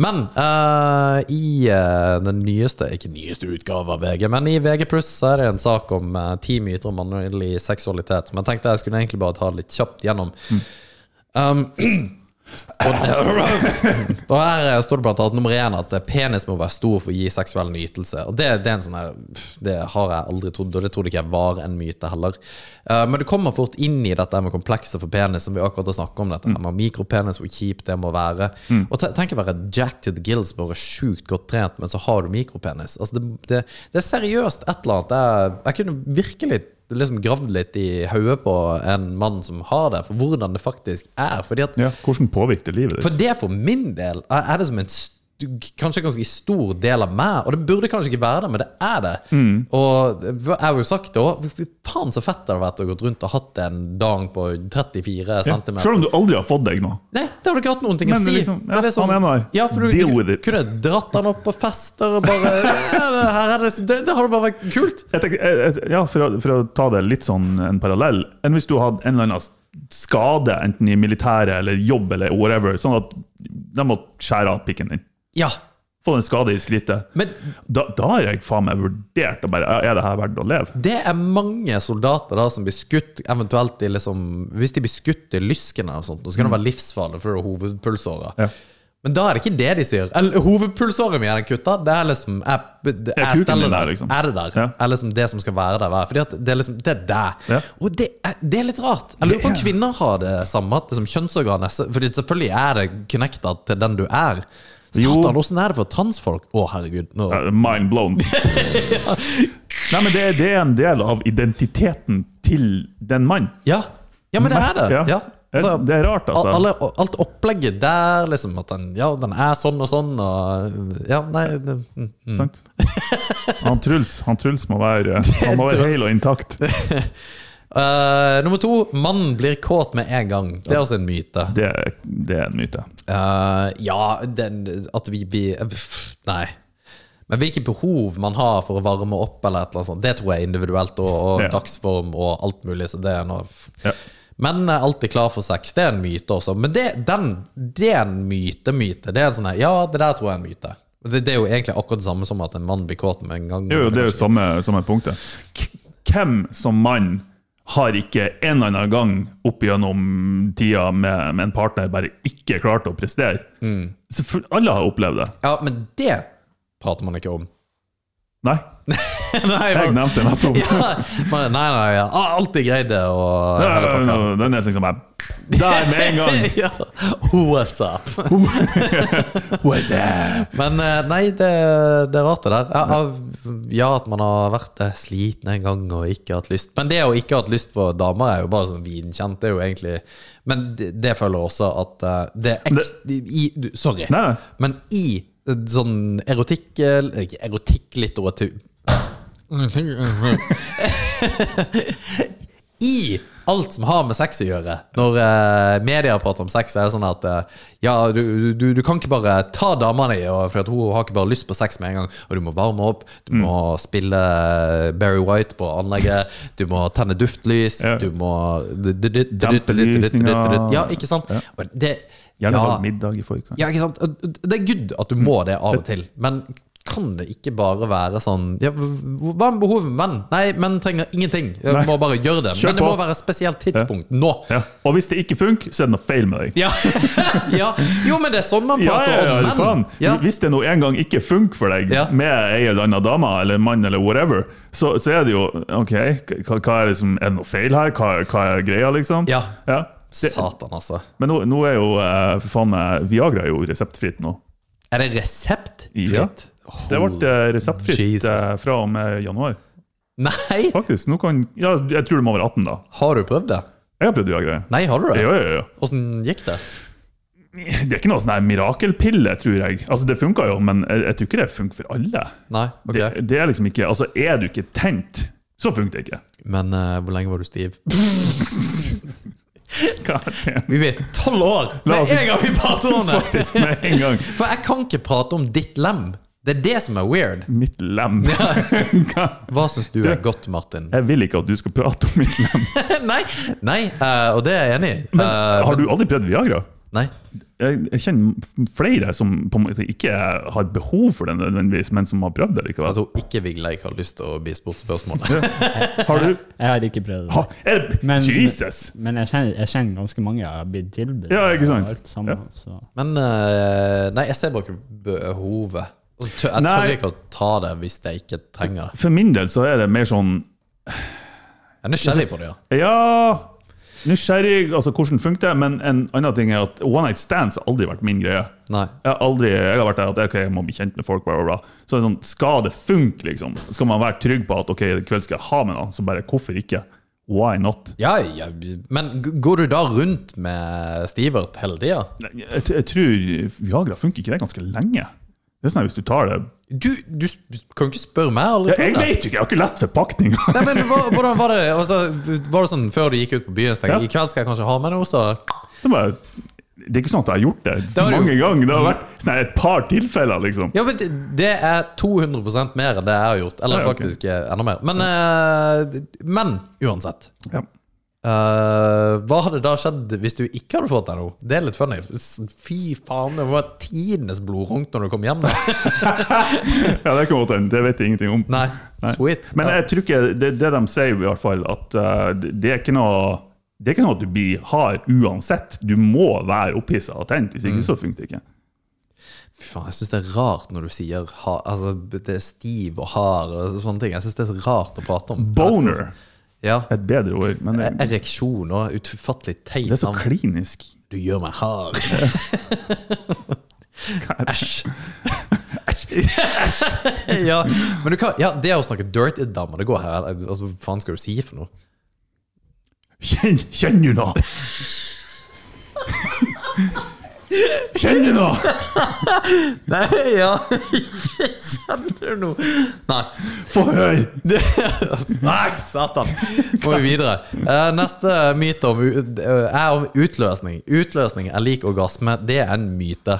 S2: Men eh, i eh, den nyeste, ikke nyeste utgave av VG, men i VG pluss så er det en sak om uh, ti myter om mannlig seksualitet. Men jeg tenkte jeg skulle egentlig bare ta litt kjapt gjennom. Um, og, og her eh, står det blant annet nummer én at eh, penis må være stor for å gi seksuell nytelse. Og det, det er en sånn her Det har jeg aldri trodd, og det trodde ikke jeg var en myte heller. Eh, men du kommer fort inn i dette med komplekset for penis, som vi akkurat har snakket om. dette her med Mikropenis, hvor kjipt det må være. Og te- tenk å være jack to the gills, bare sjukt godt trent, men så har du mikropenis. Altså, det, det, det er seriøst et eller annet. Jeg, jeg kunne virkelig liksom gravd litt i hodet på en mann som har det, for hvordan det faktisk er. Fordi at
S3: Ja, hvordan påvirker det livet ditt?
S2: for det for min del er er det som en st- kanskje ganske stor del av meg, og det burde kanskje ikke være det, men det er det.
S3: Mm.
S2: Og jeg har jo sagt det òg. Fy faen så fett det hadde vært å gått rundt og hatt en dang på 34
S3: Ja,
S2: cm.
S3: Selv om du aldri har fått deg noe.
S2: Nei, det hadde ikke hatt noen ting
S3: Men
S2: å si.
S3: liksom, ja,
S2: Det er
S3: hva mener jeg?
S2: ja, for du,
S3: Deal
S2: du
S3: with it.
S2: kunne dratt den opp på fester og
S3: (laughs)
S2: bare ja, det, her er det, det, det hadde bare vært kult.
S3: Jeg tenker, jeg- jeg- ja, for, å, for å ta det litt sånn en parallell Enn hvis du hadde en eller annen skade, enten i militæret eller jobb eller whatever, sånn at de må skjære av pikken din.
S2: Ja,
S3: Få en skade i skrittet.
S2: men
S3: Da, da har jeg faen meg vurdert å bare Er det her verdt å leve?
S2: Det er mange soldater da som blir skutt, eventuelt i liksom Hvis de blir skutt i lyskene og sånt, så kan det være livsfarlig for det er hovedpulsåra.
S3: Mm. Ja.
S2: Men da er det ikke det de sier. Eller, hovedpulsåret mitt er kutta. Det er liksom Jeg, jeg,
S3: kuken
S2: steller
S3: min der,
S2: den.
S3: liksom?
S2: Er det der?
S3: Ja.
S2: Er liksom det som skal være der? være. Fordi at det er liksom Det er der.
S3: Ja.
S2: Og det er, det er litt rart. Jeg lurer på om
S3: Det er-
S2: kvinner har det samme. At liksom kjønnsorganet så- Fordi selvfølgelig er det connecta til den du er.
S3: Jo.
S2: Satan, åssen er det for transfolk? Å, herregud. Nå.
S3: Ja, Mind
S2: (laughs)
S3: blown. Nei, men det, det er en del av identiteten til den mannen.
S2: Ja. ja, men det er det.
S3: Ja.
S2: Ja. Altså,
S3: det er rart, altså.
S2: Al- Alle, alt opplegget der, liksom, at den, ja, den er sånn og sånn og Ja, nei det- mm.
S3: Sant? Han Truls han Truls må
S2: (laughs)
S3: være, han må være
S2: Truls.
S3: hel og intakt.
S2: Eh, Nummer to. Mannen blir kåt med en gang. Det er også en myte.
S3: Det, er- det er en myte.
S2: Eh, ja, den, at vi blir eh, pff, Nei. Men hvilke behov man har for å varme opp, eller et eller annet sånt, det tror jeg er individuelt, og, og
S3: Ja.
S2: dagsform og alt mulig. Så det er noe f-
S3: Ja.
S2: Men eh, er alltid klar for sex. Det er en myte også. Men det, den, det er en myte-myte. Det er en sånn her, Ja, det der tror jeg er en myte. Det, det er jo egentlig akkurat det samme som at en mann blir kåt med en gang.
S3: Jo, jo, det er jo samme, samme punktet. K- Hvem som mann har ikke en eller annen gang opp gjennom tida med, med en partner bare ikke klart å prestere?
S2: Mm.
S3: Selvfølgelig- Alle har opplevd det.
S2: Ja, men det prater man ikke om. (laughs)
S3: Nei,
S2: nei,
S3: jeg
S2: man,
S3: nevnte det nettopp.
S2: (laughs) ja, man, nei, nei, ja. Ah, alltid greid det, og
S3: Ja, ja, ja, Den er liksom bare Der med
S2: (laughs)
S3: en gang!
S2: ja. What's up?
S3: What's up?
S2: Men eh, nei, det, det er rart det der. Ja, ja, ja, at man har vært eh, sliten en gang og ikke hatt lyst. Men det å ikke ha hatt lyst for damer er jo bare sånn vinkjent. Det er jo egentlig Men det, det føler også at eh, det er ekst... I, du, sorry.
S3: Nei, nei.
S2: Men i eh, sånn erotikk eh, Ikke erotikklitteratur i alt som har med sex å gjøre. Når eh, media prater om sex, er det sånn at eh, ja, du, du, du kan ikke bare ta dama di, og- for at hun har ikke bare lyst på sex med en gang. Og du må varme opp, du må spille Barry White på anlegget, du må tenne duftlys,
S3: Ja.
S2: du må
S3: Dempe lysninger.
S2: Ja, ikke sant? Og det
S3: Gjerne
S2: ja.
S3: hatt middag i forkant.
S2: Ja, ikke sant? Det er good at du
S3: Mm.
S2: må det av og til, men kan det ikke bare være sånn ja, Hva med behovet med menn? Nei, menn trenger ingenting. Du
S3: Nei.
S2: må bare gjøre det.
S3: Kjør
S2: men det må
S3: på.
S2: være et spesielt tidspunkt. Nå.
S3: Ja. Og hvis det ikke funker, så er det noe feil med deg.
S2: Ja. (laughs) ja. Jo, men det er sånn man
S3: Ja,
S2: prater
S3: ja, ja,
S2: om menn.
S3: faen.
S2: Ja.
S3: Hvis det nå en gang ikke funker for deg
S2: Ja.
S3: med ei eller anna dame eller mann, eller whatever, så, så er det jo OK, hva, hva er, det som, er det noe feil her? Hva, hva er greia, liksom?
S2: Ja.
S3: Det,
S2: Satan, altså.
S3: men nå, nå er jo eh, for faen meg Viagra er jo reseptfritt nå.
S2: Er det reseptfritt?
S3: Ja. Det
S2: Holy-
S3: ble eh, reseptfritt
S2: Jesus.
S3: eh, fra og med januar,
S2: Nei!
S3: faktisk. Nå kan, ja, jeg tror du må være 18, da.
S2: Har du prøvd det?
S3: Jeg har prøvd Viagra.
S2: Nei, har du det?
S3: Jo, jo, jo.
S2: Åssen gikk det?
S3: Det er ikke noe sånn her mirakelpille, tror jeg. Altså, Det funka jo, men jeg, jeg tror ikke det funker for alle.
S2: Nei, ok.
S3: Det, det er liksom ikke, altså, er du ikke tent, så funker det ikke.
S2: Men eh, hvor lenge var du stiv?
S3: Hva er det?
S2: Vi vet, tolv år!
S3: La oss-
S2: Med en gang vi prater om det!
S3: Faktisk med en gang.
S2: For jeg kan ikke prate om ditt lem. Det er det som er weird.
S3: Mitt lem. Hva?
S2: Hva syns du er godt, Martin? (laughs)
S3: Jeg vil ikke at du skal prate om mitt lem.
S2: nei, nei, eh, og det er jeg enig i. Eh,
S3: Har du aldri prøvd Viagra?
S2: Nei.
S3: Jeg, jeg kjenner f- flere som på en måte ikke har behov for det nødvendigvis, men som har prøvd det likevel.
S2: Jeg tror Altså, ikke Vigla ikke har lyst til å bli spurt spørsmål.
S3: Har du
S4: Jeg har ikke prøvd det.
S3: ha, er det,
S4: Men-
S3: Jesus!
S4: Men jeg kjenner, jeg kjenner ganske mange jeg har blitt tilbudt.
S3: Ja, ikke sant?
S4: og alt sammen,
S3: Ja.
S4: så.
S2: Men eh, nei, jeg ser bare ikke behovet. Og så tør- Jeg tør
S3: Nei.
S2: ikke å ta det hvis jeg ikke trenger det.
S3: For min del så er det mer sånn
S2: Jeg er nysgjerrig på det, ja.
S3: Ja Nysgjerrig, altså hvordan funker det? Men en annen ting er at one night stands har aldri vært min greie.
S2: Nei.
S3: Jeg har aldri, jeg har vært der at ok, jeg må bli kjent med folk, bla, bla, bla. Så er det sånn, skal det funke, liksom? Skal man være trygg på at ok, i kveld skal jeg ha med noe, så bare hvorfor ikke? Why not?
S2: Ja, ja, men g- går du da rundt med Stivert hele tida?
S3: Nei, Jeg, t- jeg tror Viagra funker ikke det ganske lenge. Det er sånn at hvis du tar det
S2: Du, du sp- kan ikke spørre meg aldri
S3: Jeg, jeg
S2: på det.
S3: vet jo ikke, jeg har ikke lest forpakninga!
S2: Nei, men hva- Hvordan var det altså, Var det sånn før du gikk ut på byen? så tenkte jeg,
S3: Ja.
S2: I kveld skal jeg kanskje ha med noe, så
S3: (laughs) Det er bare- det er ikke sånn at jeg har gjort det,
S2: har du-
S3: mange ganger. Det har vært sånn her et par tilfeller, liksom.
S2: Ja, men det, det er 200 mer enn det jeg har gjort. Eller
S3: Ja, ok.
S2: faktisk eh, enda mer. Men, eh, men uansett.
S3: Ja.
S2: Eh, hva hadde da skjedd hvis du ikke hadde fått deg noe? Det er litt funny. S- Fy faen, det var tidenes blodrunk når du kom hjem.
S3: (laughs)
S2: da
S3: Ja, det kan godt hende. Det vet jeg ingenting om.
S2: Nei, sweet.
S3: Men
S2: ja.
S3: jeg tror ikke det, det de sier, i hvert fall, at eh, det, det er ikke noe det er ikke sånn at du blir hard uansett. Du må være opphissa og tent, hvis
S2: Mm.
S3: ikke så funker det ikke.
S2: Fy faen, jeg syns det er rart når du sier ha, altså, det er stiv og hard og sånne ting. Jeg syns det er så rart å prate om.
S3: Boner
S2: Ja.
S3: er et bedre ord, men det,
S2: Ereksjon og Eh, utfattelig teit
S3: det er så
S2: navn.
S3: klinisk.
S2: Du gjør meg hard.
S3: (laughs)
S2: Æsj. ja, men du kan, ja, det å snakke dirty damer, det går her. Altså, hva faen skal du si for noe?
S3: Kjenn, kjenner du noe? Kjenner du noe?
S2: Nei, ja Kjenner du noe? Nei. (laughs)
S3: Få høre!
S2: Nei, satan. Må vi videre. Eh, neste myte om, u- eh, er om utløsning. Utløsning er lik orgasme. Det er en myte.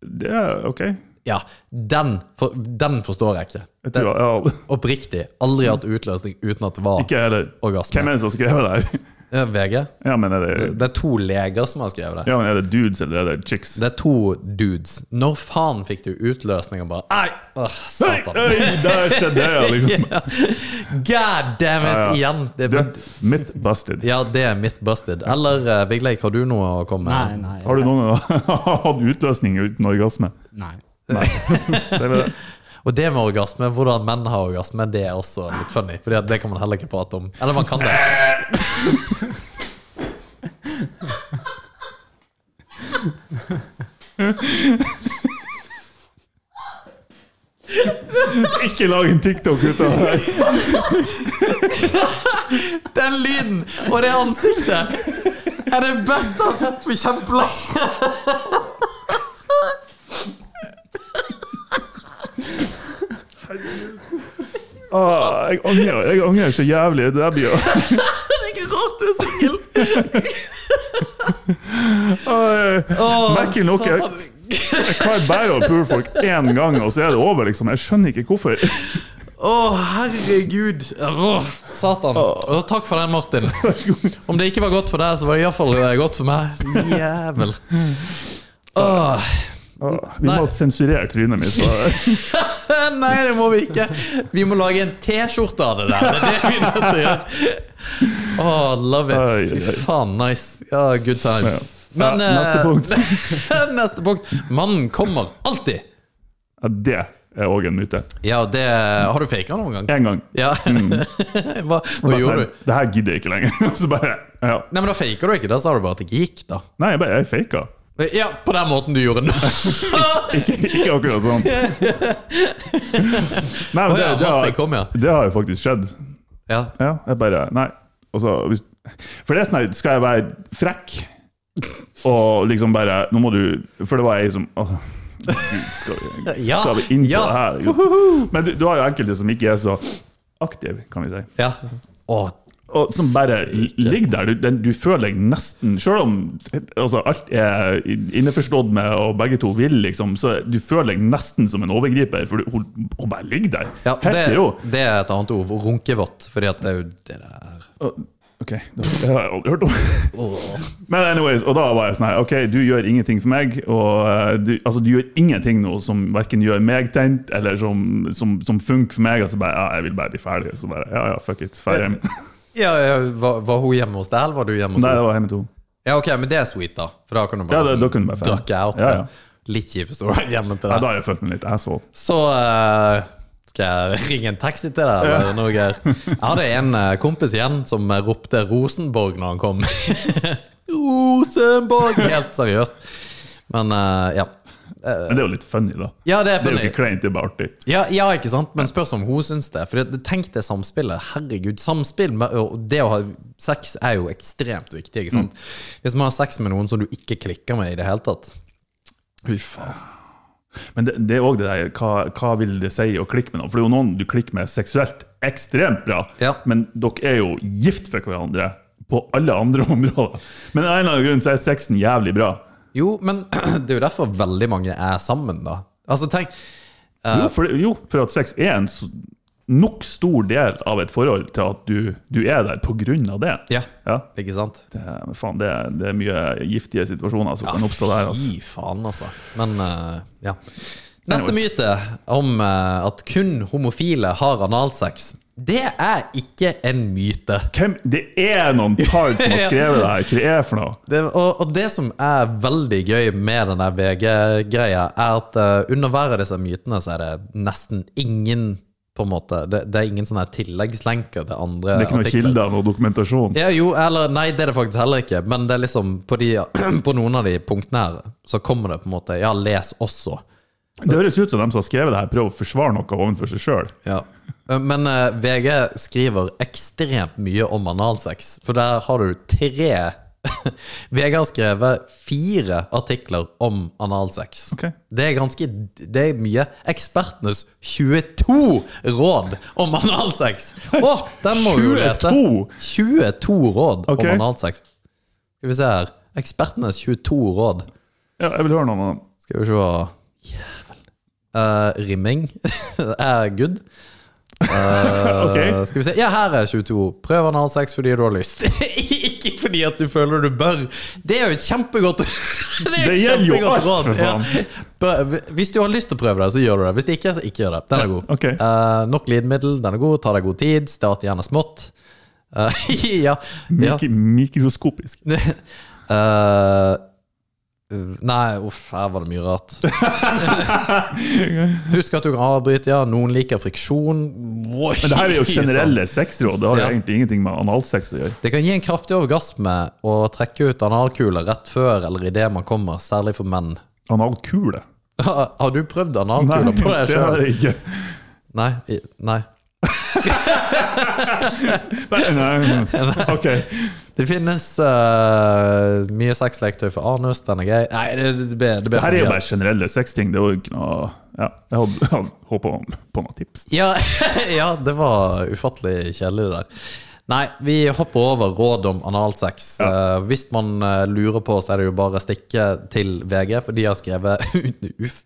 S3: Det er OK. Jeg
S2: Ja, den, for, den forstår jeg ikke. Den,
S3: tror, ja,
S2: oppriktig. Aldri hatt utløsning uten at det var
S3: ikke jeg heller.
S2: orgasme.
S3: Hvem er det som har skrevet det her?
S2: Eh, VG.
S3: Ja, men er det,
S2: Det er to leger som har skrevet det.
S3: ja, men er det dudes eller er det chicks?
S2: Det er to dudes. Når faen fikk du utløsning og bare Ei! Åh, (laughs)
S3: Hei,
S2: satan.
S3: hei, der skjedde det, ja, liksom.
S2: (laughs) Ja. God damn it,
S3: Ja, ja.
S2: igjen! Det,
S3: Du, myth busted.
S2: ja, det er mitt busted. Eller eh, Vigleik, har du noe å komme
S4: Nei,
S2: med?
S4: nei.
S3: Har du noen gang (laughs) hatt utløsning uten orgasme?
S4: Nei.
S3: Så er det det.
S2: Og det med orgasme, hvordan menn har orgasme, det er også litt funny. For det kan man heller ikke prate om. Eller man kan det.
S3: (laughs) Ikke lag en TikTok ut av det her.
S2: Den lyden og det ansiktet er det beste jeg har sett på kjempelenge. (laughs)
S3: Ah, jeg angrer jeg angrer så jævlig. Det der blir jo
S2: Det er ikke rart du er singel.
S3: ah, Merker nok jeg, jeg kan bare å pule folk én gang, og så er det over, liksom. Jeg skjønner ikke hvorfor.
S2: Å, herregud. Åh, satan. Og takk for den, Martin. Om det ikke var godt for deg, så var det iallfall godt for meg. Jævel. Åh. (laughs)
S3: Ah, vi må sensurere trynet mitt. så-
S2: Nei, det må vi ikke. Vi må lage en T-skjorte av det der. Det er det vi er nødt til å gjøre. Åh, love
S3: Oi,
S2: it.
S3: oi.
S2: Fy faen, nice. Ja, good times.
S3: Ja,
S2: Men, eh,
S3: neste
S2: (laughs) neste punkt. Mannen kommer alltid.
S3: Ja, det er òg en myte.
S2: Ja, det Har du faka noen gang?
S3: Én gang.
S2: Ja. (laughs) Hva, hva gjorde du?
S3: Det her gidder jeg ikke lenger. (laughs) Så bare ja.
S2: Nei, men da faker du ikke. Da sa du bare at det ikke gikk, da.
S3: Nei, jeg, bare, jeg faka.
S2: Ja, på den måten du gjorde nå.
S3: Ikke akkurat
S2: (laughs)
S3: sånn. Nei, men
S2: Å
S3: det,
S2: ja, Martin
S3: det, har,
S2: kom, ja.
S3: det har jo faktisk skjedd.
S2: ja.
S3: Ja, jeg bare Nei. Altså, hvis, for det er sånn her, skal jeg være frekk, Og liksom bare Nå må du For det var jeg som åh, Gud, skal vi,
S2: (laughs) Ja,
S3: skal vi inn på
S2: ja.
S3: det her? Gud. Men du, du har jo enkelte som ikke er så aktive, kan vi si.
S2: Ja. Å,
S3: Og som bare ligger der. Du, den, du føler deg nesten Selv om altså, alt er innforstått med, og begge to vil, liksom, så du føler deg nesten som en overgriper, for du, hun, hun bare ligger der.
S2: ja
S3: Helt
S2: det,
S3: ro.
S2: det er et annet ord. Runkevott. Fordi at det er jo det der
S3: Og- OK, det har jeg aldri hørt om.
S2: Åh.
S3: Men anyways, og da var jeg sånn her, ok, du gjør ingenting for meg, og eh, du, altså, du gjør ingenting nå som hverken gjør meg tent, eller som, som, som funker for meg, og så bare, ja, jeg vil bare bli ferdig, så bare, ja, ja, fuck it, ferdig hjem.
S2: Ja, ja, var, var hun hjemme hos deg, eller var du hjemme hos
S3: Nei, det
S2: henne?
S3: var hjemme to.
S2: Ja, ok, men det er sweet, da. For da kan du bare,
S3: Ja, det-
S2: sånn
S3: da kan du bare ferdig.
S2: ducke out.
S3: Ja, ja.
S2: det. Litt kjipt å være hjemme til
S3: Nei,
S2: deg.
S3: da har jeg følt meg litt asshole.
S2: Så eh, skal jeg ringe en taxi til deg, eller noe greier. Jeg hadde en eh, kompis igjen som ropte Rosenborg når han kom. (laughs) Rosenborg! Helt seriøst. Men eh, ja.
S3: Men det er jo litt funny da.
S2: Ja, det er
S3: Det er jo
S2: funny.
S3: ikke kleint, det er bare artig.
S2: Ja, ja, ikke sant? Men spørs om hun syns det. For det- tenk det samspillet. Herregud, samspill med, og det å ha sex er jo ekstremt viktig. ikke sant?
S3: Mm.
S2: Hvis man har sex med noen som du ikke klikker med i det hele tatt Fy faen.
S3: Men det, det er også det der, hva, hva vil det si å klikke med noen? For det er jo noen du klikker med seksuelt ekstremt bra,
S2: Ja.
S3: men dere er jo gift for hverandre på alle andre (laughs) områder. Men av en eller annen grunn så er sexen jævlig bra.
S2: Jo, men (clears throat) det er jo derfor veldig mange er sammen, da. Altså, tenk
S3: Jo, for, jo, for at sex er en s- nok stor del av et forhold til at du, du er der på grunn av det.
S2: Ja,
S3: Ja.
S2: ikke sant?
S3: Det, er- men faen, det, er- det er mye giftige situasjoner som kan oppstå der. Altså.
S2: Fy faen, altså. Men eh, ja. Neste myte om eh, at kun homofile har analsex. Det er ikke en myte.
S3: Hvem, det er noen tard som har skrevet det her! Hva er det for noe?
S2: Det, og, og det som er veldig gøy med denne VG-greia, er at eh, under hver av disse mytene så er det nesten ingen på en måte, Det, det er ingen sånne her tilleggslenker til andre
S3: Det er ikke noen kilder eller noen dokumentasjon.
S2: Ja, jo, eller nei, det er det faktisk heller ikke. Men det er liksom på, de, (clears throat) på noen av de punktene her, så kommer det på en måte Ja, les også.
S3: Det høres ut som de som har skrevet det her, prøver å forsvare noe overfor seg sjøl.
S2: Ja. Men eh, VG skriver ekstremt mye om analsex, for der har du tre (laughs) VG har skrevet fire artikler om analsex.
S3: Ok.
S2: Det er ganske Det er mye. Ekspertenes 22 råd om
S3: (laughs)
S2: analsex! Å, den må vi jo lese!
S3: 22?
S2: 22 råd
S3: Ok.
S2: om analsex. Skal vi se her. Ekspertenes 22 råd.
S3: Ja, jeg vil høre noen av dem.
S2: Skal vi se Jævel. Eh, rimming (laughs) er good. Eh,
S3: (laughs) Ok.
S2: Skal vi se. Ja, her er 22. Prøv analsex fordi du har lyst. (laughs) Ikke fordi at du føler du bør. Det er jo et kjempegodt (laughs) Det, er et
S3: Det gjelder jo
S2: kjempegodt
S3: alt,
S2: råd.
S3: for
S2: Ja. (laughs) Bør- Hvis du har lyst til å prøve det, så gjør du det. Hvis ikke, så ikke gjør det. Den er god.
S3: ok.
S2: Eh, nok glidemiddel, den er god. Ta deg god tid. Start gjerne smått. Eh, (laughs) ja. ja.
S3: Mik mikroskopisk.
S2: (laughs) Eh, nei, uff, her var det mye rart.
S3: (laughs)
S2: Husk at du kan avbryte, ja. Noen liker friksjon.
S3: Men det her
S2: (laughs)
S3: er jo generelle sexråd. Det har jo
S2: Ja.
S3: egentlig ingenting med analsex å gjøre.
S2: Det kan gi en kraftig orgasme å trekke ut analkuler rett før eller idet man kommer, særlig for menn. (laughs)
S3: Analkule?
S2: Har du prøvd analkuler på deg
S3: det har
S2: sjøl?
S3: jeg ikke.
S2: Nei. i- nei. (laughs)
S3: Nei, nei, nei. Ok.
S2: Det finnes eh, mye sexleketøy for anus. Den er grei. Nei, det, det ble, det ble
S3: Det her er jo
S2: mye.
S3: bare generelle sexting. Det er jo ikke noe Ja, jeg hadde- hadde håpa på noen tips.
S2: Ja, (laughs) ja, det var ufattelig kjedelig det der. Nei, vi hopper over råd om analsex. Eh, hvis man eh, lurer på, så er det jo bare å stikke til VG, for de har skrevet (laughs) uf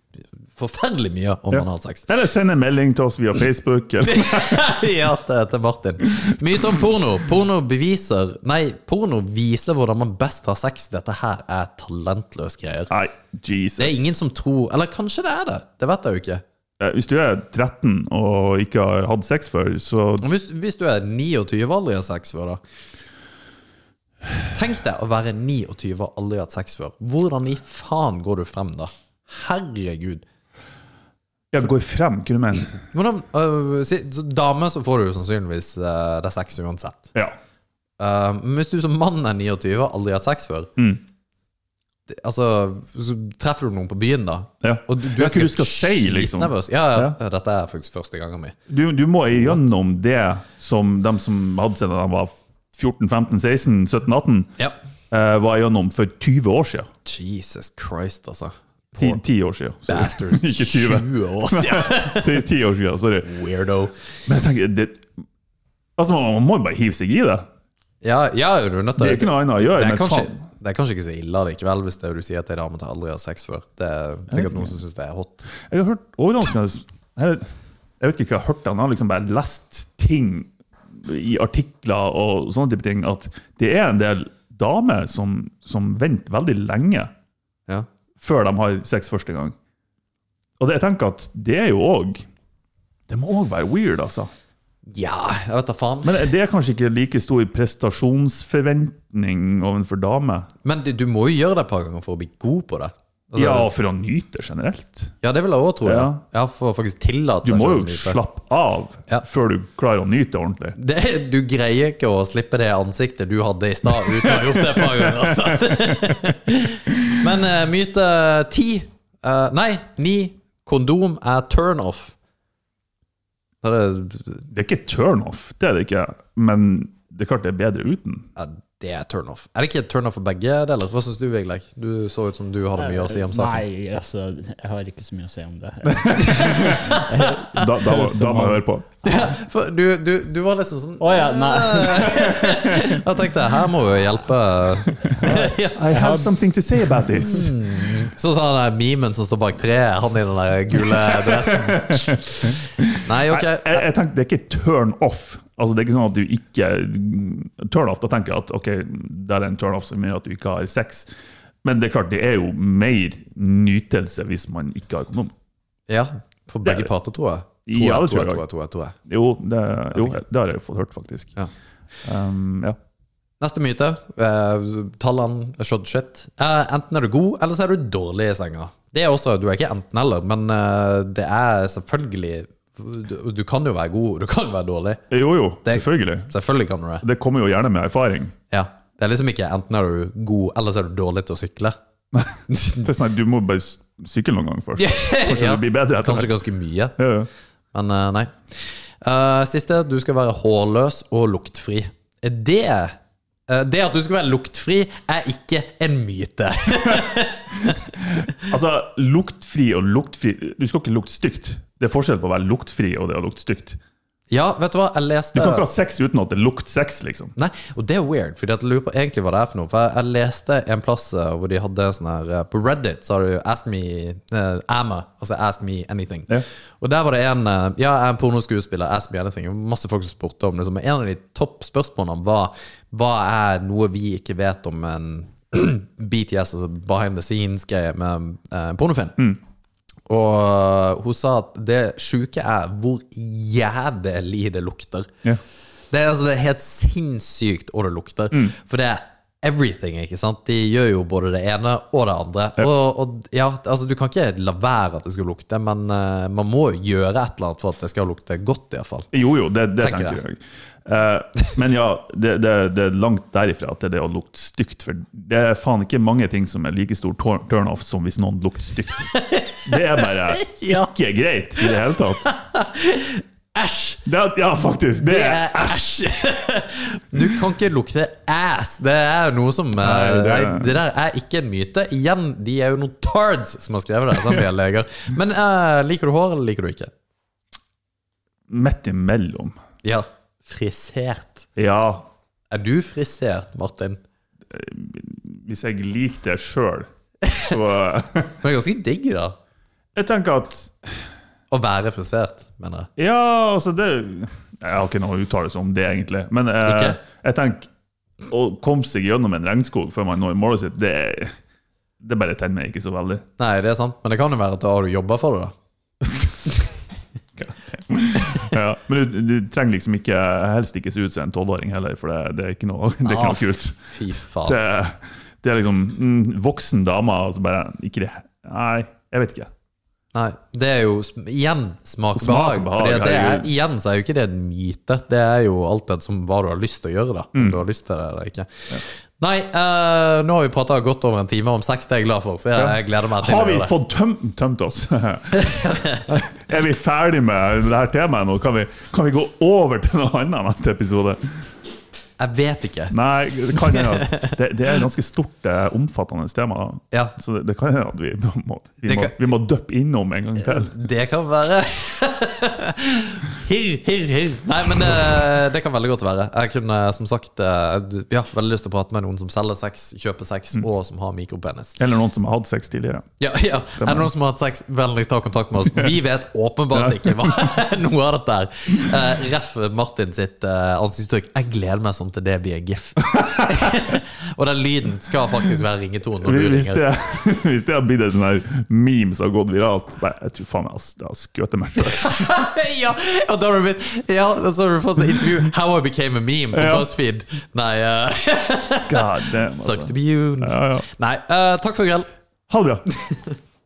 S2: forferdelig mye om analsex. (laughs)
S3: Eller send en melding til oss via Facebook. Eller.
S2: ja, til, til Martin. Myte om porno. Porno beviser Nei, porno viser hvordan man best har sex. Dette her er talentløse greier.
S3: Nei, Jesus.
S2: Det er ingen som tror Eller kanskje det er det? Det vet jeg jo ikke.
S3: Eh, Hvis du er 13 og ikke har hatt sex før, så
S2: Hvis, hvis du er 29 og aldri har sex før, da? Tenk deg å være 29 og aldri hatt sex før. Hvordan i faen går du frem da? Herregud.
S3: Jeg går frem, kunne du mene.
S2: Hvordan, øh, si, så dame så får du jo sannsynligvis øh, det er sex uansett.
S3: Ja.
S2: Øh, men hvis du som mann er 29 og aldri har hatt sex før,
S3: Mm.
S2: det, altså, så treffer du noen på byen da.
S3: ja.
S2: Og du,
S3: Ja, hva du skal si, liksom.
S2: skitnervøs. Ja, ja, Dette er faktisk første gangen min.
S3: Du, du må igjennom det som de som hadde seg da de var 14, 15, 16, 17, 18.
S2: Ja.
S3: eh, var gjennom for 20 år siden.
S2: Jesus Christ, altså.
S3: Ti- Ti år siden. sorry.
S2: Bastards.
S3: (laughs) Ikke 20.
S2: 20 år siden.
S3: Ti, ti år siden, sorry.
S2: Weirdo.
S3: Men jeg tenker, det, altså, man, man må jo bare hive seg i det.
S2: Ja, ja, du er nødt til
S3: Det er ikke noe annet å gjøre,
S2: Det er
S3: men
S2: kanskje,
S3: faen.
S2: det er kanskje ikke så ille likevel, hvis det er du sier til ei dame at jeg aldri har sex før. Det er sikkert noen som syns det er hot.
S3: Jeg har hørt overraskende Jeg jeg vet ikke hva jeg har hørt, han har liksom bare lest ting i artikler og sånne type ting, at det er en del damer som, som venter veldig lenge
S2: Ja.
S3: før de har sex første gang. Og det, jeg tenker at det er jo òg Det må òg være weird, altså.
S2: ja, jeg vet da faen.
S3: Men det er kanskje ikke like stor prestasjonsforventning overfor damer.
S2: Men du, du må jo gjøre det et par ganger for å bli god på det. Altså,
S3: Ja, for å nyte det generelt.
S2: ja, det vil jeg òg tro. Ja.
S3: Ja.
S2: ja, For å faktisk tillate
S3: Du
S2: seg
S3: må
S2: selv å
S3: jo
S2: Altså, nyte.
S3: slappe av
S2: Ja.
S3: før du klarer å nyte det ordentlig.
S2: det, Du greier ikke å slippe det ansiktet du hadde i stad, uten å ha gjort det et par ganger. Altså. (laughs) Men eh, myte ti eh, Nei, ni. Kondom er turnoff. Da er det
S3: Det er ikke turnoff, det er det ikke. Men det er klart det er bedre uten.
S2: Ja, det er turnoff. Er det ikke turnoff for begge deler? Hva syns du, Vigleik? Du så ut som du hadde mye å si om saken.
S4: Nei, altså, jeg har ikke så mye å si om det.
S3: Da, da, da, må jeg høre på.
S2: For du, du, du var liksom sånn
S4: Å
S2: (laughs)
S4: ja, nei.
S2: Jeg tenkte her må vi jo hjelpe
S4: (laughs)
S2: ja.
S3: I have something to say about this.
S2: Sånn som han der memen som står bak treet, han i den der gule dressen.
S3: (laughs)
S2: Nei, ok.
S3: Jeg, jeg, jeg tenker, Det er ikke turn off. Altså, det er ikke sånn at du ikke Turn off, da tenker jeg at ok, det er en turn off som gjør at du ikke har sex. Men det er klart, det er jo mer nytelse hvis man ikke har kondom.
S2: Ja, for begge parter, tror jeg.
S3: Ja, det tror jeg.
S2: tror jeg, tror jeg, tror jeg.
S3: Jo, det, jo, det har jeg fått hørt, faktisk.
S2: Ja.
S3: Um, ja.
S2: Neste myte. eh, tallene er shot shit. Eh, enten er du god, eller så er du dårlig i senga. Det er også, Du er ikke enten-eller, men eh, det er selvfølgelig du, du kan jo være god, du kan jo være dårlig.
S3: Jo, jo,
S2: Det-
S3: selvfølgelig.
S2: Selvfølgelig kan du det.
S3: Det kommer jo gjerne med erfaring.
S2: Ja. Det er liksom ikke enten er du god, eller så er du dårlig til å sykle.
S3: Det er sånn at Du må bare s- sykle noen gang først. Kanskje
S2: Ja.
S3: det blir bedre etter
S2: Kanskje ganske mye,
S3: Ja, ja.
S2: men eh, nei. Eh, siste. Du skal være hårløs og luktfri. Det eh, det at du skal være luktfri, er ikke en myte. (laughs)
S3: Altså, luktfri og luktfri Du skal ikke lukte stygt. Det er forskjell på å være luktfri og det å lukte stygt.
S2: Ja, vet du hva? Jeg
S3: Du
S2: leste
S3: kan ikke ha sex uten at det lukter sex, liksom.
S2: Nei, og det er weird, for jeg lurer på egentlig hva det er for noe. For jeg, jeg leste en plass eh, hvor de hadde sånn her eh, På Reddit så har du Ask me eh, Amma, altså Ask me anything.
S3: Ja.
S2: Og der var det en eh, Ja, jeg er en pornoskuespiller, ask me anything. og Masse folk som spurte om det. liksom. Men En av de topp spørsmålene var hva er noe vi ikke vet om en (clears throat) BTS, altså behind the scenes-greie med eh, pornofilm? Og eh, hun sa at det sjuke er hvor jævlig det lukter.
S3: Ja.
S2: Det er, altså, det er helt sinnssykt hva det lukter. For det er everything, ikke sant? De gjør jo både det ene og det andre. Og, og ja, altså, du kan ikke la være at det skal lukte, men eh, man må jo gjøre et eller annet for at det skal lukte godt, iallfall.
S3: Jo, jo, det, det
S2: Tenker
S3: tenker, jeg. Eh, men ja, det, det, det er langt derifra at det er det å lukte stygt. For det er faen ikke mange ting som er like stor tor- turnoff som hvis noen lukter stygt. Det er bare
S2: (laughs) Ja.
S3: ikke greit i det hele tatt.
S2: (laughs) Æsj!
S3: Det, er- ja, faktisk. Det
S2: Det
S3: er
S2: er æsj! Du kan ikke lukte ass! Det er jo noe som eh,
S3: Nei, det-
S2: nei, det, der er ikke en myte. Igjen, de er jo noen tards som har skrevet det. Sånn vi er leger. Men eh, liker du hår, eller liker du ikke?
S3: midt imellom.
S2: Ja. Frisert.
S3: Ja,
S2: Er du frisert, Martin?
S3: hvis jeg liker det sjøl, så (laughs)
S2: Men det er ganske digg, da.
S3: Jeg tenker at
S2: Å være frisert, mener jeg.
S3: Ja, altså det Jeg har ikke noe uttalelse om det, egentlig. Men eh,
S2: Ikke?
S3: jeg tenker å komme seg gjennom en regnskog før man når målet sitt, det, er- det bare tenner meg ikke så
S2: (laughs)
S3: veldig.
S2: Nei, det er sant, men det kan jo være at da har du jobba for det, da.
S3: Ja, men du, du trenger liksom ikke helst ikke se ut som en tolvåring heller, for det, det er ikke noe, (laughs) det er ikke
S2: Ah,
S3: noe kult.
S2: Fy faen.
S3: Det, det er liksom mm, voksen dame, og så bare ikke det. Nei, jeg vet ikke.
S2: Nei, det er jo sm- igjen smaksbehag.
S3: Smak, behag,
S2: Fordi at det er,
S3: herregud.
S2: igjen så er jo ikke det en myte. Det er jo alt det som hva du har lyst til å gjøre, da.
S3: Mm.
S2: Om du har lyst til det eller ikke. Nei, eh, nå har vi prata godt over en time om sex, det er jeg glad for. For jeg, jeg gleder meg til
S3: Har
S2: å
S3: vi
S2: gjøre det.
S3: fått tømt, tømt oss? (laughs) er vi ferdig med det her temaet nå? Kan vi, kan vi gå over til noe annet neste episode?
S2: Jeg vet ikke.
S3: Nei, det kan hende at det, det er et ganske stort, eh, omfattende tema. da.
S2: Ja.
S3: Så det, det kan hende at vi må, vi
S2: Det
S3: må,
S2: kan-
S3: vi må døppe innom en gang til.
S2: Det kan være Hirr, hirr, hirr. Nei, men det, det kan veldig godt være. Jeg kunne som sagt eh, du- ja, veldig lyst til å prate med noen som selger sex, kjøper sex, og som har mikropenis.
S3: Eller noen som har hatt sex tidligere.
S2: Ja, ja. Er det noen som har hatt sex, vennligst ta kontakt med oss. Vi vet åpenbart ikke hva (laughs) noe av dette er. Eh, Ref Martin sitt eh, ansiktsuttrykk. Jeg gleder meg sånn til det blir en gif. (laughs) og den lyden skal faktisk være ringetonen når du
S3: Hvis
S2: ringer.
S3: det, (laughs) hvis det har blitt et sånn her meme som har gått viralt bare, Jeg tror faen jeg har- jeg har skutt
S2: (laughs)
S3: meg sjøl.
S2: ja, og da har du blitt Ja, og så har du fått et intervju. How I became a meme på
S3: Ja.
S2: BuzzFeed. Nei, eh,
S3: God damn.
S2: sucks to
S3: Altså.
S2: be you.
S3: Ja, ja.
S2: Nei, eh, takk for i kveld.
S3: Ha det bra.